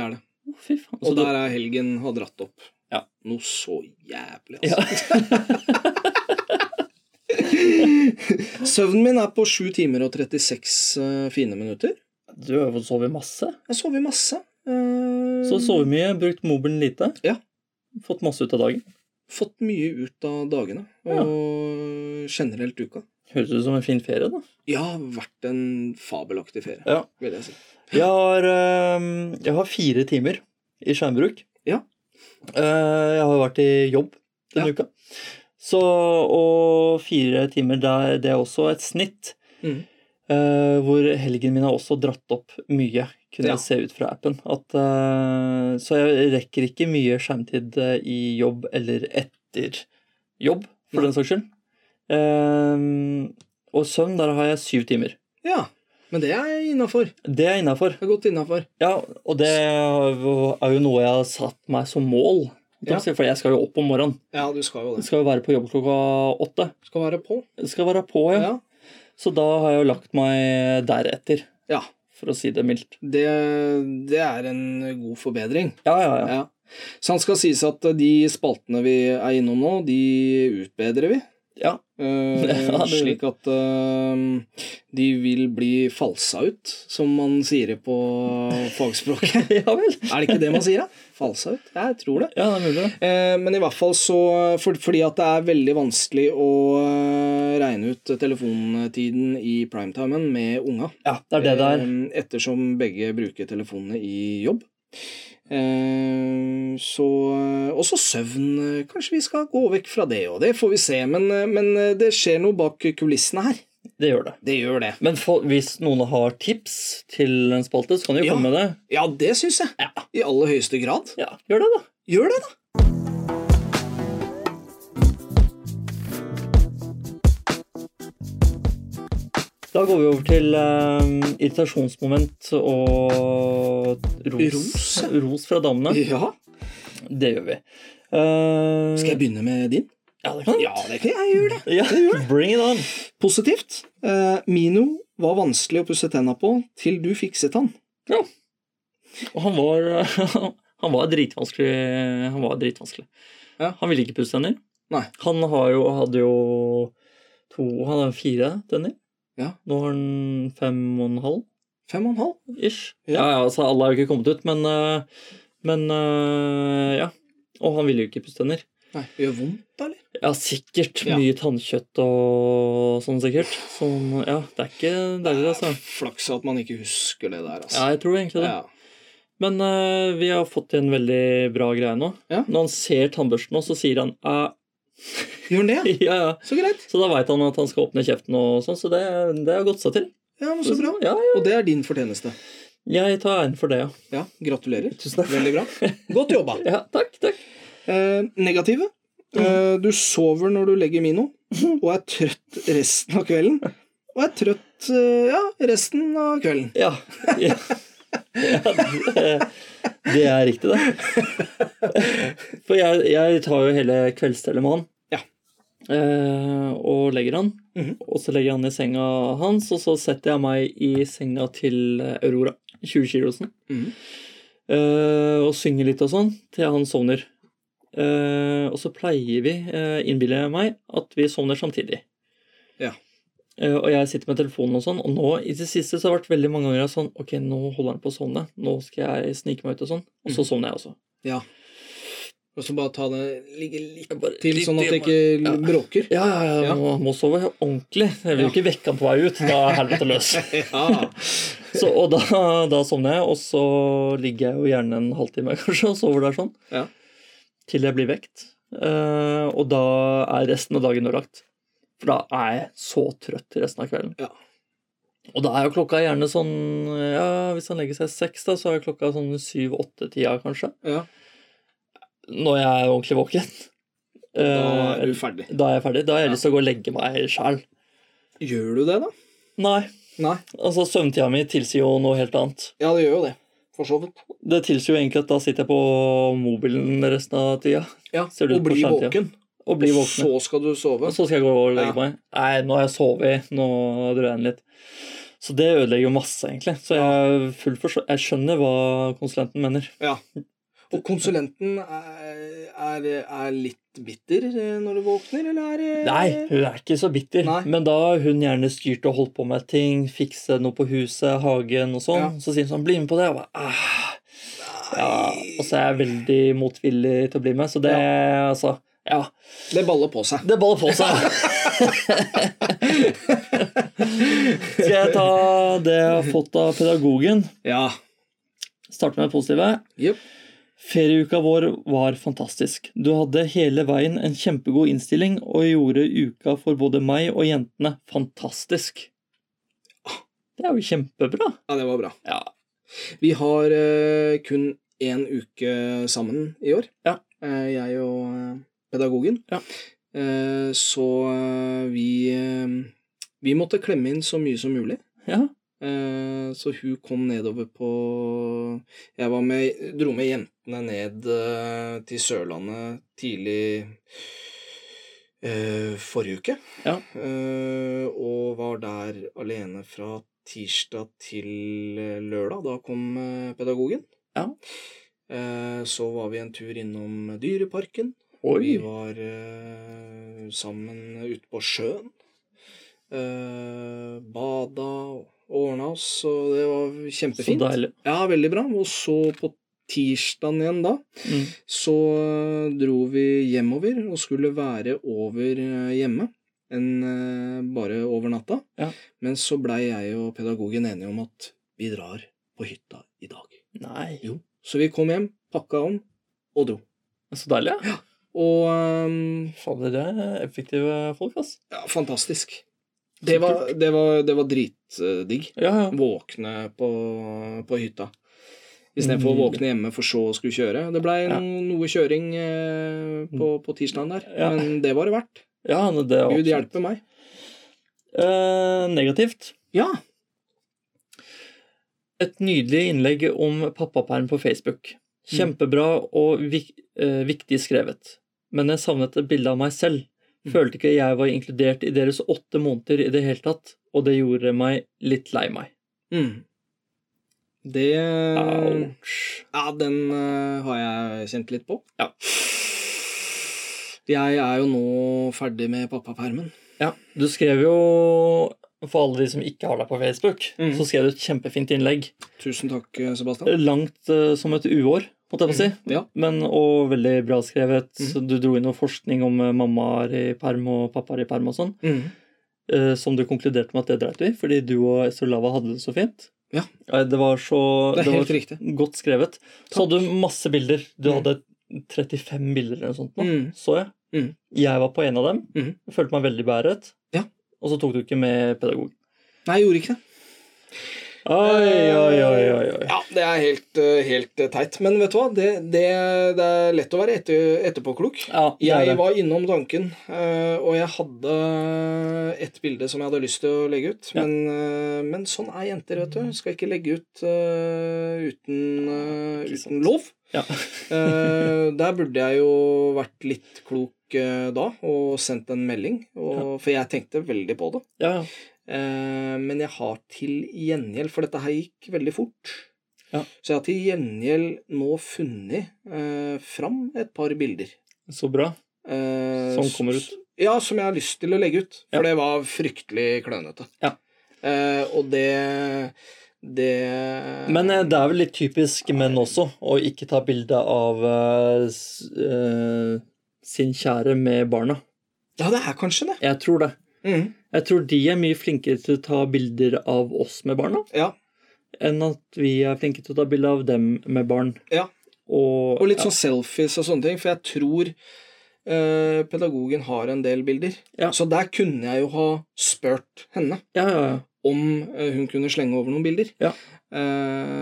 A: er det.
B: Å, fy faen.
A: Og
B: Så du-
A: der er helgen har dratt opp.
B: Ja.
A: Noe så jævlig,
B: ja.
A: altså. Søvnen min er på 7 timer og 36 eh, fine minutter.
B: Du har jo sovet masse.
A: Jeg sover masse. Eh,
B: Så sovet mye, brukt mobilen lite.
A: Ja.
B: Fått masse ut av dagen.
A: Eh, Fått mye ut av dagene, og generelt uka.
B: Høres ut som en fin ferie, da.
A: Ja, vært en fabelaktig ferie,
B: Ja.
A: vil jeg si.
B: Jeg har, eh, jeg har fire timer i skjermbruk.
A: Ja.
B: Eh, Jeg har vært i jobb denne
A: Ja.
B: uka. Så, og fire timer, der, det er også et snitt.
A: Mhm.
B: Eh, hvor helgen min har også dratt opp mye, kunne
A: Ja.
B: jeg se ut fra appen. At, eh, så jeg rekker ikke mye skjermtid eh, i jobb eller etter jobb, for
A: Nei.
B: den saks skyld. Eh, og søvn, der har jeg syv timer.
A: Ja, men det er innafor.
B: Det er innafor.
A: Det er godt innafor.
B: Ja, og det er jo noe jeg har satt meg som mål.
A: Ja.
B: For jeg skal jo opp om morgenen.
A: Ja, du skal jo
B: Jeg
A: det.
B: skal jo være på jobb klokka åtte.
A: Skal være på.
B: Jeg skal være på, ja.
A: Ja.
B: Så da har jeg jo lagt meg deretter,
A: ja.
B: for å si det mildt.
A: Det, det er en god forbedring.
B: Ja, ja, ja.
A: Ja. Sant skal sies at de spaltene vi er innom nå, de utbedrer vi.
B: Ja,
A: Eh,
B: Ja, det-
A: slik at eh, de vil bli falsa ut, som man sier det på fagspråket.
B: ja vel.
A: Er det ikke det man sier, da? Halsa ut? Jeg tror det.
B: Ja, det er mulig. det.
A: Eh, Men i hvert fall så for, Fordi at det er veldig vanskelig å eh, regne ut telefontiden i primetimen med unga.
B: Ja, det er det det er.
A: Eh, Ettersom begge bruker telefonene i jobb. Eh, Så Også søvn. eh, Kanskje vi skal gå vekk fra det, og det får vi se. Men, eh, men eh, det skjer noe bak kulissene her.
B: Det gjør det.
A: Det gjør det.
B: Men for, hvis noen har tips til en spalte, så kan de jo
A: Ja.
B: komme med det.
A: Ja, det syns jeg.
B: Ja.
A: I aller høyeste grad.
B: ja, gjør det, da.
A: Gjør det, da!
B: Da går vi over til eh, irritasjonsmoment og ros,
A: Ros, ja.
B: ros fra damene.
A: Ja.
B: Det gjør vi. Eh,
A: Skal jeg begynne med din?
B: Ja, det kan du.
A: Ja, det kan jeg gjøre. det.
B: Ja, bring it on.
A: Positivt. Eh, Mino var vanskelig å pusse tenna på til du fikset han.
B: Og han var, han var dritvanskelig. Han var dritvanskelig.
A: Ja.
B: Han ville ikke pusse tenner.
A: Nei.
B: Han har jo, hadde jo to Han har fire tenner.
A: Ja.
B: Nå har han fem og en halv.
A: Fem og en halv.
B: ish.
A: Ja.
B: Ja, ja, altså alle har jo ikke kommet ut, men, øh, men øh, ja. Og han ville jo ikke pusse tenner.
A: Nei, Gjør vondt, eller?
B: Ja, sikkert
A: Ja.
B: mye tannkjøtt og sånn sikkert. Sånn, ja, det er ikke deilig, altså.
A: Flaks at man ikke husker det der, altså.
B: Ja, jeg tror egentlig det.
A: Ja.
B: Men øh, vi har fått til en veldig bra greie nå.
A: Ja.
B: Når han ser tannbørsten nå, så sier han «Æ,
A: Gjør han det?
B: ja, ja.
A: Så greit.
B: Så da veit han at han skal åpne kjeften og sånn, så det, det har gått seg til.
A: Ja, men Så bra.
B: Ja, ja.
A: Og det er din fortjeneste.
B: Jeg tar æren for det, ja.
A: Ja, Gratulerer.
B: Tusen takk.
A: Veldig bra. Godt jobba.
B: Ja, takk, takk.
A: Eh, negative. Eh, du sover når du legger Mino, og er trøtt resten av kvelden. Og er trøtt eh, ja, resten av kvelden.
B: Ja. ja. ja det, det er riktig, det. For jeg, jeg tar jo hele kveldsstellet med han.
A: Ja.
B: Eh, og legger han.
A: Mhm.
B: Og så legger jeg han i senga hans, og så setter jeg meg i senga til Aurora, 20-kilosen,
A: Mhm.
B: eh, og synger litt og sånn til han sovner. Eh, og så pleier vi, eh, innbiller jeg meg, at vi sovner samtidig. Eh, Og jeg sitter med telefonen og sånn, og nå i det siste så har det vært veldig mange ganger jeg er sånn Ok, nå holder han på å sovne. Nå skal jeg snike meg ut og sånn. Og så sovner jeg også.
A: Ja. Og så bare ta det ligge litt
B: Jeg bare-
A: til,
B: litt
A: sånn at det
B: igjen,
A: ikke
B: Ja.
A: bråker.
B: bare- Ja, ja, ja.
A: Ja.
B: Nå, han må sove ordentlig. Jeg vil
A: Ja.
B: jo ikke vekke han på vei ut. Da er helvete løs.
A: Ja.
B: Så, og da, da sovner jeg, og så ligger jeg jo gjerne en halvtime kanskje og sover der sånn.
A: Ja.
B: Til jeg blir vekt. Eh, og da er resten av dagen ødelagt. For da er jeg så trøtt resten av kvelden.
A: Ja.
B: Og da er jo klokka gjerne sånn ja, Hvis han legger seg seks, da, så er klokka sånn syv-åtte-tida, kanskje.
A: Ja.
B: Når jeg er ordentlig våken.
A: Da er
B: Eh,
A: du ferdig.
B: da er jeg ferdig. Da har jeg lyst til å gå og legge meg sjæl.
A: Gjør du det, da?
B: Nei.
A: Nei.
B: Altså, søvntida mi tilsier jo noe helt annet.
A: Ja, det gjør jo det. For så vidt.
B: Det tilsier jo egentlig at da sitter jeg på mobilen resten av tida
A: Ja,
B: Ser det ut
A: og
B: på
A: bli
B: skjermtida?
A: våken. Altså,
B: og blir
A: Og
B: våken.
A: så skal du sove.
B: Og så skal jeg gå og legge
A: Ja.
B: meg. Nei, nå har jeg sovet. Nå drar jeg inn litt. Så det ødelegger jo masse, egentlig. Så jeg, er full forstå- jeg skjønner hva konsulenten mener.
A: Ja. Og konsulenten er, er, er litt bitter eh, når du våkner, eller er eh? det-
B: Nei, hun er ikke så bitter.
A: Nei.
B: Men da har hun gjerne styrt og holdt på med ting, fikse noe på huset, hagen og sånn,
A: Ja.
B: så sier hun sånn 'bli med på det'. Og, jeg bare, «Ah». ja, og så er jeg veldig motvillig til å bli med, så det altså Ja.
A: Det baller på seg.
B: Det baller på seg. Skal jeg ta det jeg har fått av pedagogen?
A: Ja.
B: Starte med det positive.
A: Jep.
B: Ferieuka vår var fantastisk. Du hadde hele veien en kjempegod innstilling og gjorde uka for både meg og jentene fantastisk. Det er jo kjempebra.
A: ja, det var bra.
B: Ja.
A: Vi har eh, kun én uke sammen i år.
B: Ja.
A: Eh, jeg og eh, pedagogen.
B: Ja.
A: Eh, så eh, vi eh, Vi måtte klemme inn så mye som mulig.
B: ja.
A: Eh, Så hun kom nedover på Jeg var med, dro med jentene ned eh, til Sørlandet tidlig eh, forrige uke.
B: Ja.
A: Eh, Og var der alene fra tirsdag til eh, lørdag. Da kom eh, pedagogen.
B: Ja.
A: Eh, Så var vi en tur innom Dyreparken. Vi
B: Oi.
A: var eh, sammen ute på sjøen. Eh, bada og ordna oss, og det var
B: Så
A: kjempefint.
B: deilig.
A: Ja, veldig bra. Og så på tirsdagen igjen da,
B: Mm.
A: så dro vi hjemover og skulle være over eh, hjemme. Enn eh, bare over natta.
B: Ja.
A: Men så blei jeg og pedagogen enige om at vi drar på hytta i dag.
B: Nei.
A: Jo. Så vi kom hjem, pakka om og dro.
B: Så deilig, ja.
A: Og ehm,
B: Fader, dere er effektive folk, ass.
A: ja, fantastisk. Det var, det var, det var dritdigg.
B: Ja, ja.
A: Våkne på, på hytta. Istedenfor å
B: Nydelig.
A: våkne hjemme for så å skulle kjøre. Det blei
B: Ja.
A: noe kjøring eh, på, på tirsdagen der,
B: Ja.
A: men det var det verdt.
B: ja men det er
A: Gud
B: absolutt-
A: hjelpe meg.
B: Eh, negativt.
A: Ja.
B: Et nydelig innlegg om pappaperm på Facebook.
A: Mm.
B: Kjempebra og vik eh, viktig skrevet. Men jeg savnet et bilde av meg selv.
A: Mm.
B: Følte ikke jeg var inkludert i deres åtte måneder i det hele tatt, og det gjorde meg litt lei meg.
A: Mm. Det
B: Ouch.
A: Ja, den eh, har jeg kjent litt på.
B: Ja.
A: Jeg er jo nå ferdig med pappapermen.
B: Ja, du skrev jo for alle de som ikke har deg på Facebook,
A: Mm.
B: så skrev du et kjempefint innlegg.
A: Tusen takk, Sebastian.
B: Langt eh, som et uår, måtte jeg få si.
A: Mm. Ja. Mm.
B: Men, og veldig bra skrevet. Du dro inn noe forskning om eh, mammaer i perm og pappaer i perm og sånn,
A: Mm.
B: eh, som du konkluderte med at det dreit du i, fordi du og Estrolava hadde det så fint.
A: Ja.
B: Eh, Det var så
A: Det er
B: det
A: helt riktig.
B: var godt skrevet. Så hadde du masse bilder. Du
A: Mm.
B: hadde 35 bilder eller noe sånt, nå,
A: Mm.
B: så jeg.
A: Mm.
B: Jeg var på en av dem.
A: Mhm.
B: Følte meg veldig beæret.
A: Ja.
B: Og så tok du ikke med pedagog.
A: Nei, jeg gjorde ikke det.
B: Oi, oi, oi, oi, oi.
A: Ja, det er helt, eh, helt eh, teit. Men vet du hva, det, det, det er lett å være etter, etterpåklok.
B: Ja, det er
A: Jeg
B: det.
A: var innom tanken, eh, og jeg hadde et bilde som jeg hadde lyst til å legge ut.
B: Ja.
A: Men, eh, men sånn er jenter, vet du. Skal ikke legge ut eh, uten, eh,
B: Ikke sant.
A: uten lov.
B: Ja.
A: Eh, der burde jeg jo vært litt klok eh, da og sendt en melding, og, for jeg tenkte veldig på det.
B: Ja, ja.
A: Eh, men jeg har til gjengjeld, for dette her gikk veldig fort,
B: Ja.
A: så jeg har til gjengjeld nå funnet eh, fram et par bilder.
B: Så bra.
A: eh,
B: Som kommer ut.
A: s- Ja, som jeg har lyst til å legge ut, for
B: Ja.
A: det var fryktelig klønete.
B: Ja.
A: Eh, og det det
B: Men eh, det er vel litt typisk menn også å ikke ta bilde av eh, s- eh, sin kjære med barna.
A: Ja, det er kanskje det.
B: Jeg tror det.
A: Mhm.
B: Jeg tror de er mye flinkere til å ta bilder av oss med barna
A: Ja.
B: enn at vi er flinke til å ta bilde av dem med barn.
A: Ja.
B: Og,
A: Og litt sånn selfies og sånne ting, for jeg tror eh, pedagogen har en del bilder.
B: Ja.
A: Så der kunne jeg jo ha spurt henne
B: Ja, ja, ja.
A: om eh, hun kunne slenge over noen bilder.
B: Ja.
A: Eh,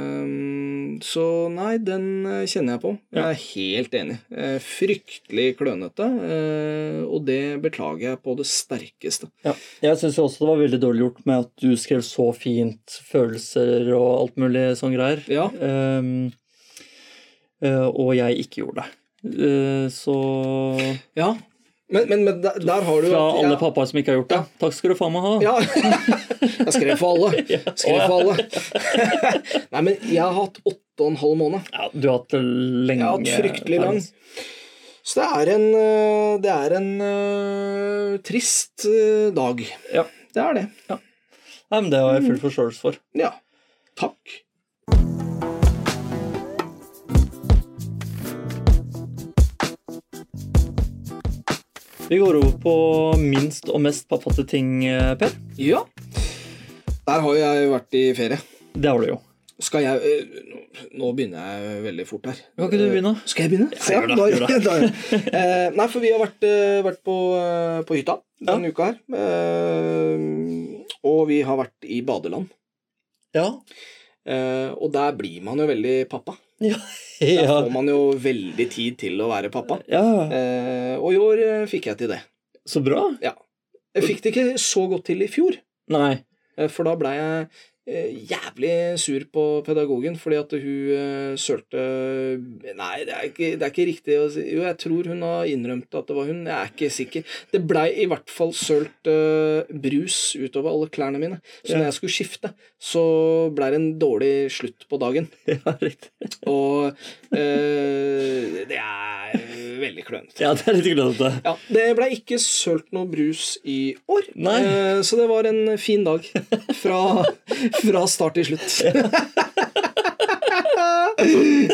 A: så nei, den eh, kjenner jeg på. Jeg
B: Ja.
A: er helt enig. Eh, fryktelig klønete, eh, og det beklager jeg på det sterkeste.
B: Jeg syns også det var veldig dårlig gjort med at du skrev så fint følelser og alt mulig sånn greier.
A: Ja.
B: Ehm, eh, og jeg ikke gjorde det. Eh, så
A: Ja, men, men, men der, der har du
B: Fra
A: at jeg-
B: alle pappaer som ikke har gjort det. Takk skal du faen meg ha.
A: Ja. Jeg skrev for alle.
B: Ja.
A: Skrev for alle. Nei, men jeg har hatt åtte og en halv måned.
B: Ja, du har hatt det lenge.
A: Jeg har hatt fryktelig lang. Så det er en, øh, det er en øh, trist øh, dag.
B: Ja.
A: Det er det.
B: Nei, men Det har jeg
A: Mm.
B: full forståelse for.
A: Ja. Takk.
B: Vi går over på minst og mest pappate ting, eh, Per.
A: Ja. Der har jeg vært i ferie.
B: Det har du jo.
A: Skal jeg øh, nå- Nå begynner jeg veldig fort her.
B: Kan ikke du begynne?
A: Eh, Skal jeg begynne?
B: Ja, gjør det,
A: da-
B: gjør det.
A: da gjør jeg. Eh, Nei, for vi har vært, eh, vært på, eh, på hytta denne uka her. Eh, Og vi har vært i badeland.
B: Ja.
A: Eh, Og der blir man jo veldig pappa. Der
B: Ja.
A: får man jo veldig tid til å være pappa.
B: ja.
A: Eh, Og i år eh, fikk jeg til det.
B: Så bra.
A: Jeg fikk det ikke så godt til i fjor.
B: Nei.
A: Eh, For da blei jeg eh, jævlig sur på pedagogen, fordi at hun eh, sølte Nei, det er, ikke, det er ikke riktig å si Jo, jeg tror hun har innrømt at det var hun. Jeg er ikke sikker. Det blei i hvert fall sølt eh, brus utover alle klærne mine. Så
B: Ja.
A: når jeg skulle skifte, så blei det en dårlig slutt på dagen.
B: Ja, riktig.
A: Og eh, det er veldig klønete.
B: Ja, det er litt glødete.
A: Ja, Det ble ikke sølt noe brus i år,
B: Nei.
A: Eh, så det var en fin dag fra, fra start til slutt.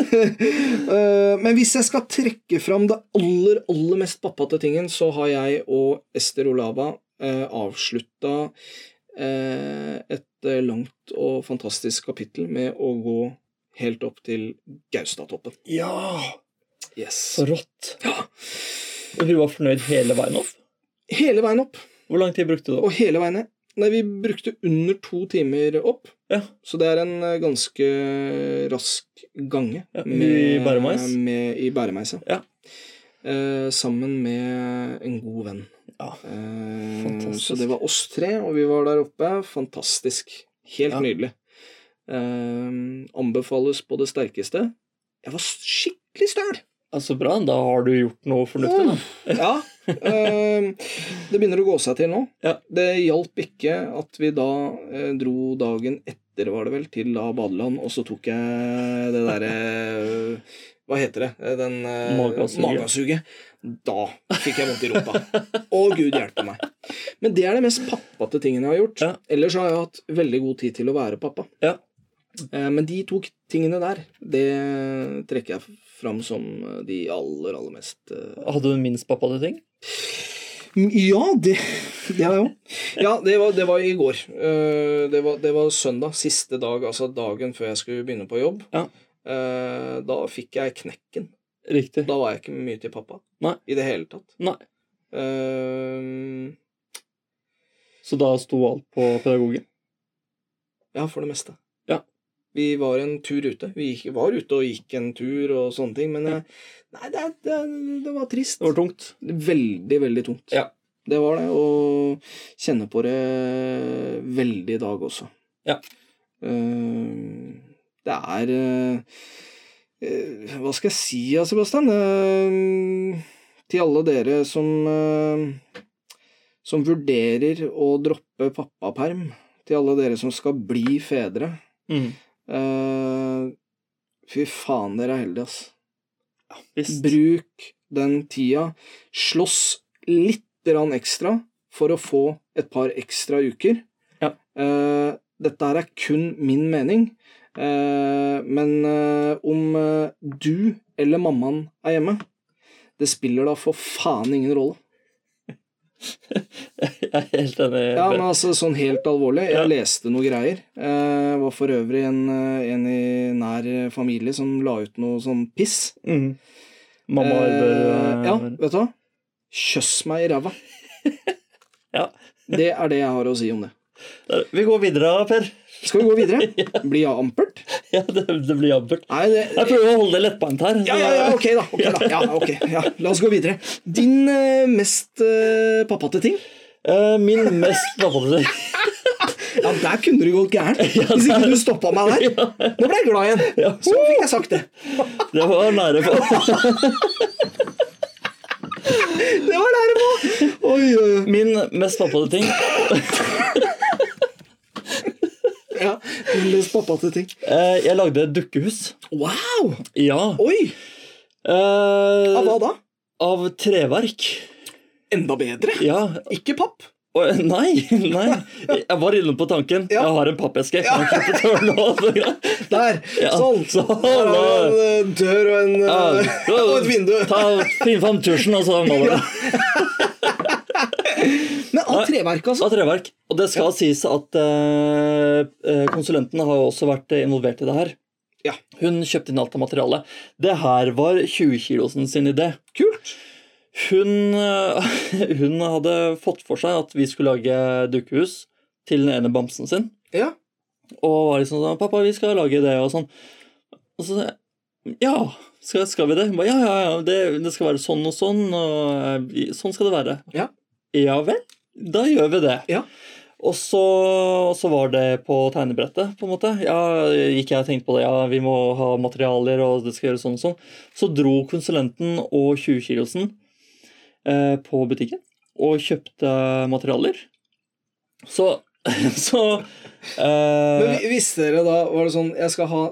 A: Eh, Men hvis jeg skal trekke fram det aller, aller mest pappate tingen, så har jeg og Ester Olava eh, avslutta eh, et eh, langt og fantastisk kapittel med å gå helt opp til Gaustatoppen.
B: Ja!
A: Yes.
B: Så rått.
A: Ja.
B: Og du var fornøyd hele veien opp?
A: Hele veien opp.
B: Hvor lang tid brukte du?
A: Og hele veien ned. Nei, vi brukte under to timer opp.
B: Ja.
A: Så det er en eh, ganske rask gange.
B: Ja, i bæremeis?
A: Med, I bæremeis,
B: Ja.
A: Eh, sammen med en god venn.
B: Ja.
A: Eh,
B: Fantastisk.
A: så det var oss tre, og vi var der oppe. Fantastisk. Helt
B: Ja.
A: nydelig. Eh, anbefales på det sterkeste. Jeg var skikkelig støl!
B: Ja, så bra. Da har du gjort noe fornuftig, da.
A: Ja. eh, det begynner å gå seg til nå.
B: Ja.
A: Det hjalp ikke at vi da eh, dro dagen etter, var det vel, til da badeland, og så tok jeg det derre eh, Hva heter det? Eh, Den eh,
B: Magasuget.
A: magasuget. Da fikk jeg vondt i rumpa. Å, gud hjelpe meg. Men det er det mest pappate tingen jeg har gjort.
B: Ja.
A: Ellers har jeg hatt veldig god tid til å være pappa.
B: Ja.
A: Eh, Men de to tingene der, det trekker jeg fram som eh, de aller, aller mest eh,
B: Hadde du minst pappa til ting?
A: Mm, Ja, det, det har jeg òg. Ja, det var, det var i går. Eh, Det var, det var søndag, siste dag, altså dagen før jeg skulle begynne på jobb.
B: Ja.
A: Eh, Da fikk jeg knekken.
B: Riktig.
A: Da var jeg ikke mye til pappa
B: Nei.
A: i det hele tatt.
B: Nei.
A: Eh,
B: Så da sto alt på pedagogen?
A: Ja, for det meste.
B: Ja.
A: Vi var en tur ute. Vi gikk, var ute og gikk en tur og sånne ting, men jeg, nei, det, det, det var trist.
B: Det var tungt.
A: Veldig, veldig tungt.
B: Ja.
A: Det var det, og kjenner på det veldig i dag også.
B: Ja.
A: Eh, Det er eh, eh, Hva skal jeg si, ja, Sebastian? Eh, Til alle dere som eh, som vurderer å droppe pappaperm, til alle dere som skal bli fedre
B: Mm.
A: eh, Fy faen, dere er heldige, ass.
B: Visst.
A: Bruk den tida. Slåss litt grann ekstra for å få et par ekstra uker.
B: Ja.
A: Eh, dette her er kun min mening, Eh, men eh, om eh, du eller mammaen er hjemme, det spiller da for faen ingen rolle.
B: Jeg er helt enig.
A: Ja, men altså sånn helt alvorlig. Jeg
B: Ja.
A: leste noen greier. Eh, var for øvrig en, eh, en i nær familie som la ut noe sånn piss.
B: mm.
A: Eh,
B: Mamma arbeider
A: Ja, vet du hva? Kjøss meg i ræva.
B: Ja.
A: Det er det jeg har å si om det.
B: Vi går videre, Per.
A: Skal vi gå videre? Blir jeg ampert?
B: Ja, det, det blir jabbert.
A: Nei, det
B: Jeg prøver å holde det lettbeint her.
A: ja, ja, ja, ok da. ok da. Ja, ok. Ja, la oss gå videre. Din eh, mest eh, pappate ting?
B: Eh, Min mest vanlige
A: Ja, der kunne du gått gærent. Hvis ikke du stoppa meg der. Nå ble jeg glad
B: Ja.
A: igjen. Så fikk jeg sagt det.
B: Det var nære på.
A: Det var der det var. Oi, oi, oi.
B: Min mest vanlige ting
A: Ja, din mest pappate ting.
B: eh, Jeg lagde et dukkehus.
A: Wow!
B: Ja.
A: Oi! Ja,
B: Eh,
A: hva da?
B: av treverk.
A: Enda bedre.
B: Ja.
A: Ikke papp.
B: Og, nei, nei. Jeg var inne på tanken.
A: Ja.
B: Jeg har en pappeske. Kan jeg klippe tårnet av? Så greit.
A: Der!
B: Ja,
A: Sånn!
B: sånn.
A: Der har vi en eh, dør og, en, eh,
B: Ja.
A: og et vindu.
B: Ta, finn fram tusjen, og så maler du.
A: Men av treverk, altså.
B: Av treverk. Og det skal sies at eh, eh, konsulenten har jo også vært involvert i det her.
A: Ja.
B: Hun kjøpte inn alt av materiale. Det her var 20-kilosen sin idé.
A: Kult.
B: Hun, eh, hun hadde fått for seg at vi skulle lage dukkehus til den ene bamsen sin.
A: Ja.
B: Og var liksom sånn 'Pappa, vi skal lage det', og sånn. Og så sa jeg, 'Ja, skal, skal vi det?' Hun ba, 'Ja, ja, ja, det, det skal være sånn og sånn, og eh, sånn skal det være'.
A: Ja.
B: ja vel, da gjør vi det.
A: Ja.
B: Og så, og så var det på tegnebrettet, på en måte. Ja, ikke jeg tenkte på det. Ja, vi må ha materialer, og det skal gjøres sånn og sånn. Så dro konsulenten og 20-kilosen eh, på butikken og kjøpte materialer. Så, så
A: Men
B: eh,
A: vi- visste dere da Var det sånn Jeg skal ha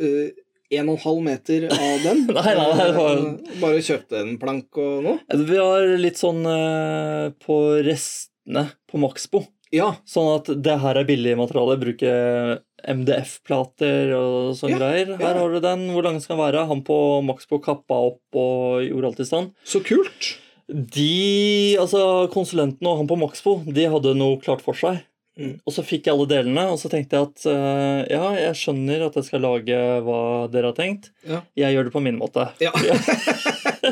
A: eh, en og en halv meter av den.
B: Nei, nei, nei, det var-
A: Eh, Bare kjøpte en plank og noe?
B: Altså, vi var litt sånn eh, på restene på Maxbo.
A: Ja.
B: Sånn at det her er billige materialer, bruke MDF-plater og sånne
A: Ja,
B: greier. Her
A: ja.
B: har du den. Hvor lang skal den være? Han på Maxbo kappa opp og gjorde alt i stand.
A: Så kult.
B: De, altså Konsulenten og han på Maxbo de hadde noe klart for seg.
A: Mm.
B: Og så fikk jeg alle delene, og så tenkte jeg at eh, ja, jeg skjønner at jeg skal lage hva dere har tenkt.
A: Ja.
B: Jeg gjør det på min måte.
A: Ja.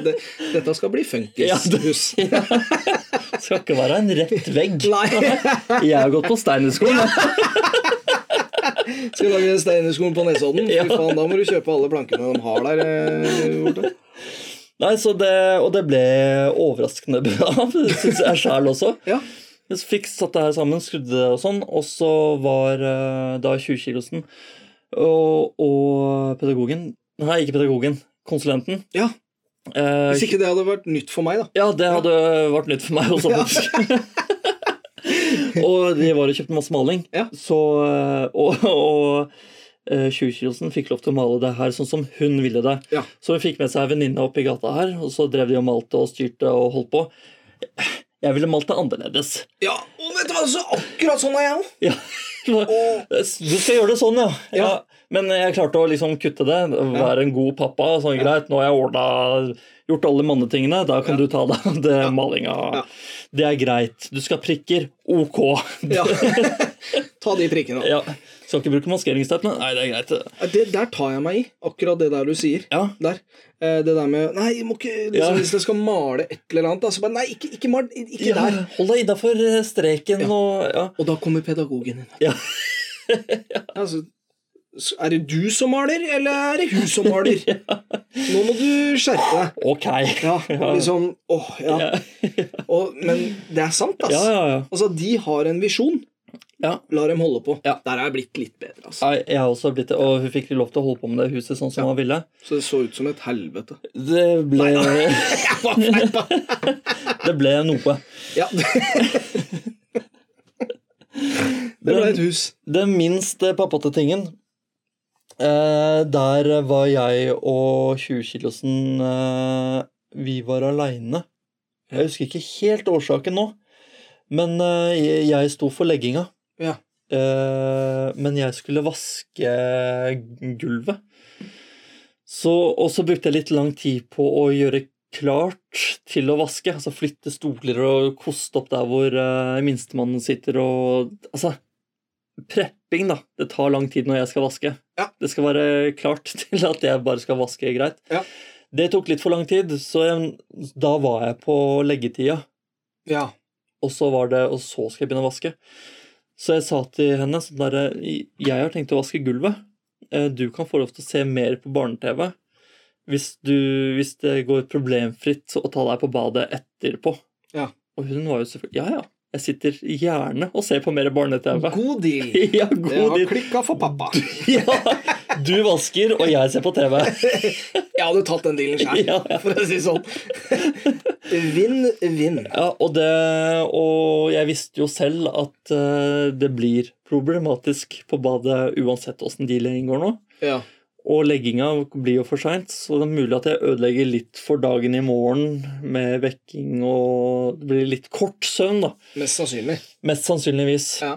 A: Det, dette skal bli funkishus.
B: Det skal ikke være en rett vegg.
A: Nei.
B: Jeg har gått på Steinerskolen. jeg.
A: Skal vi lage Steinerskolen på Nesodden? Fy
B: Ja.
A: faen, da må du kjøpe alle plankene de har der. eh, borte.
B: Nei, så det, Og det ble overraskende bra, syns jeg sjæl også.
A: Ja.
B: Jeg fikk satt det her sammen, skrudde det og sånn, og så var eh, da 20-kilosen og, og pedagogen Nei, ikke pedagogen. Konsulenten.
A: ja.
B: Eh,
A: Hvis ikke det hadde vært nytt for meg, da.
B: ja, det hadde vært nytt for meg også,
A: Ja.
B: faktisk. og de var og kjøpte masse maling.
A: Ja.
B: Så, eh, og og eh, 20-kilosen fikk lov til å male det her sånn som hun ville det.
A: Ja.
B: Så hun fikk med seg venninna opp i gata her, og så drev de og malte og styrte og holdt på. Jeg ville malt det annerledes.
A: Ja, og vet du hva, så akkurat sånn er jeg òg.
B: Ja. Du skal gjøre det sånn, ja. ja.
A: Ja.
B: Men jeg klarte å liksom kutte det. Være en god pappa. sånn greit, Nå har jeg ordnet, gjort alle mannetingene. Da kan du ta deg av det malinga.
A: Ja.
B: Det er greit. Du skal ha prikker. Ok.
A: Ja. Ta de prikkene.
B: Ja. Skal ikke bruke maskeringsteip? nei? Nei, det er greit.
A: Det, der tar jeg meg i, akkurat det der du sier.
B: Ja.
A: Der. Eh, Det der med Nei, jeg må ikke, liksom,
B: Ja.
A: hvis jeg skal male et eller annet, da, så bare Nei, ikke, ikke mal ikke
B: ja.
A: der.
B: Hold deg innafor eh, streken og ja.
A: Og da kommer pedagogen inn.
B: Ja.
A: Altså, s- er det du som maler, eller er det hun som maler? Nå må du skjerpe deg.
B: Ok.
A: Ja, og liksom, åh, ja. Og, men det er sant, ass.
B: Ja, ja, ja.
A: Altså, de har en visjon.
B: Ja.
A: La dem holde på.
B: Ja.
A: Der er jeg blitt litt bedre, ass.
B: Nei, Jeg har også blitt det, og hun fikk lov til å holde på med det huset sånn som hun ville.
A: Så det så ut som et helvete.
B: Det ble Det ble noe.
A: Ja. det ble et hus.
B: Den minst pappate tingen eh, Der var jeg og 20-kilosen eh, Vi var aleine. Jeg husker ikke helt årsaken nå, men eh, jeg- jeg sto for legginga.
A: Ja.
B: Eh, men jeg skulle vaske gulvet. Så, og så brukte jeg litt lang tid på å gjøre klart til å vaske. Altså flytte stoler og koste opp der hvor eh, minstemannen sitter og Altså, prepping, da. Det tar lang tid når jeg skal vaske.
A: Ja.
B: Det skal være klart til at jeg bare skal vaske greit.
A: Ja.
B: Det tok litt for lang tid, så jeg, da var jeg på leggetida.
A: Ja.
B: Og så var det, og så skal jeg begynne å vaske. Så jeg sa til henne sånn der, Jeg har tenkt å vaske gulvet. Eh, Du kan få lov til å se mer på barne-TV hvis, du- hvis det går problemfritt å ta deg på badet etterpå.
A: Ja.
B: Og hun var jo selvfølgelig Ja, ja. Jeg sitter gjerne og ser på mer barne-TV.
A: God deal.
B: Ja,
A: Det har
B: god deal.
A: klikka for pappa.
B: Ja, du vasker, og jeg ser på TV.
A: Jeg hadde tatt den dealen sjøl,
B: Ja.
A: for å si det sånn. Vinn-vinn.
B: Ja, og, det, og jeg visste jo selv at eh, det blir problematisk på badet uansett åssen dealingen går nå.
A: Ja.
B: Og legginga blir jo for seint, så det er mulig at jeg ødelegger litt for dagen i morgen med vekking og Det blir litt kort søvn, da.
A: Mest sannsynlig.
B: Mest sannsynligvis.
A: Ja.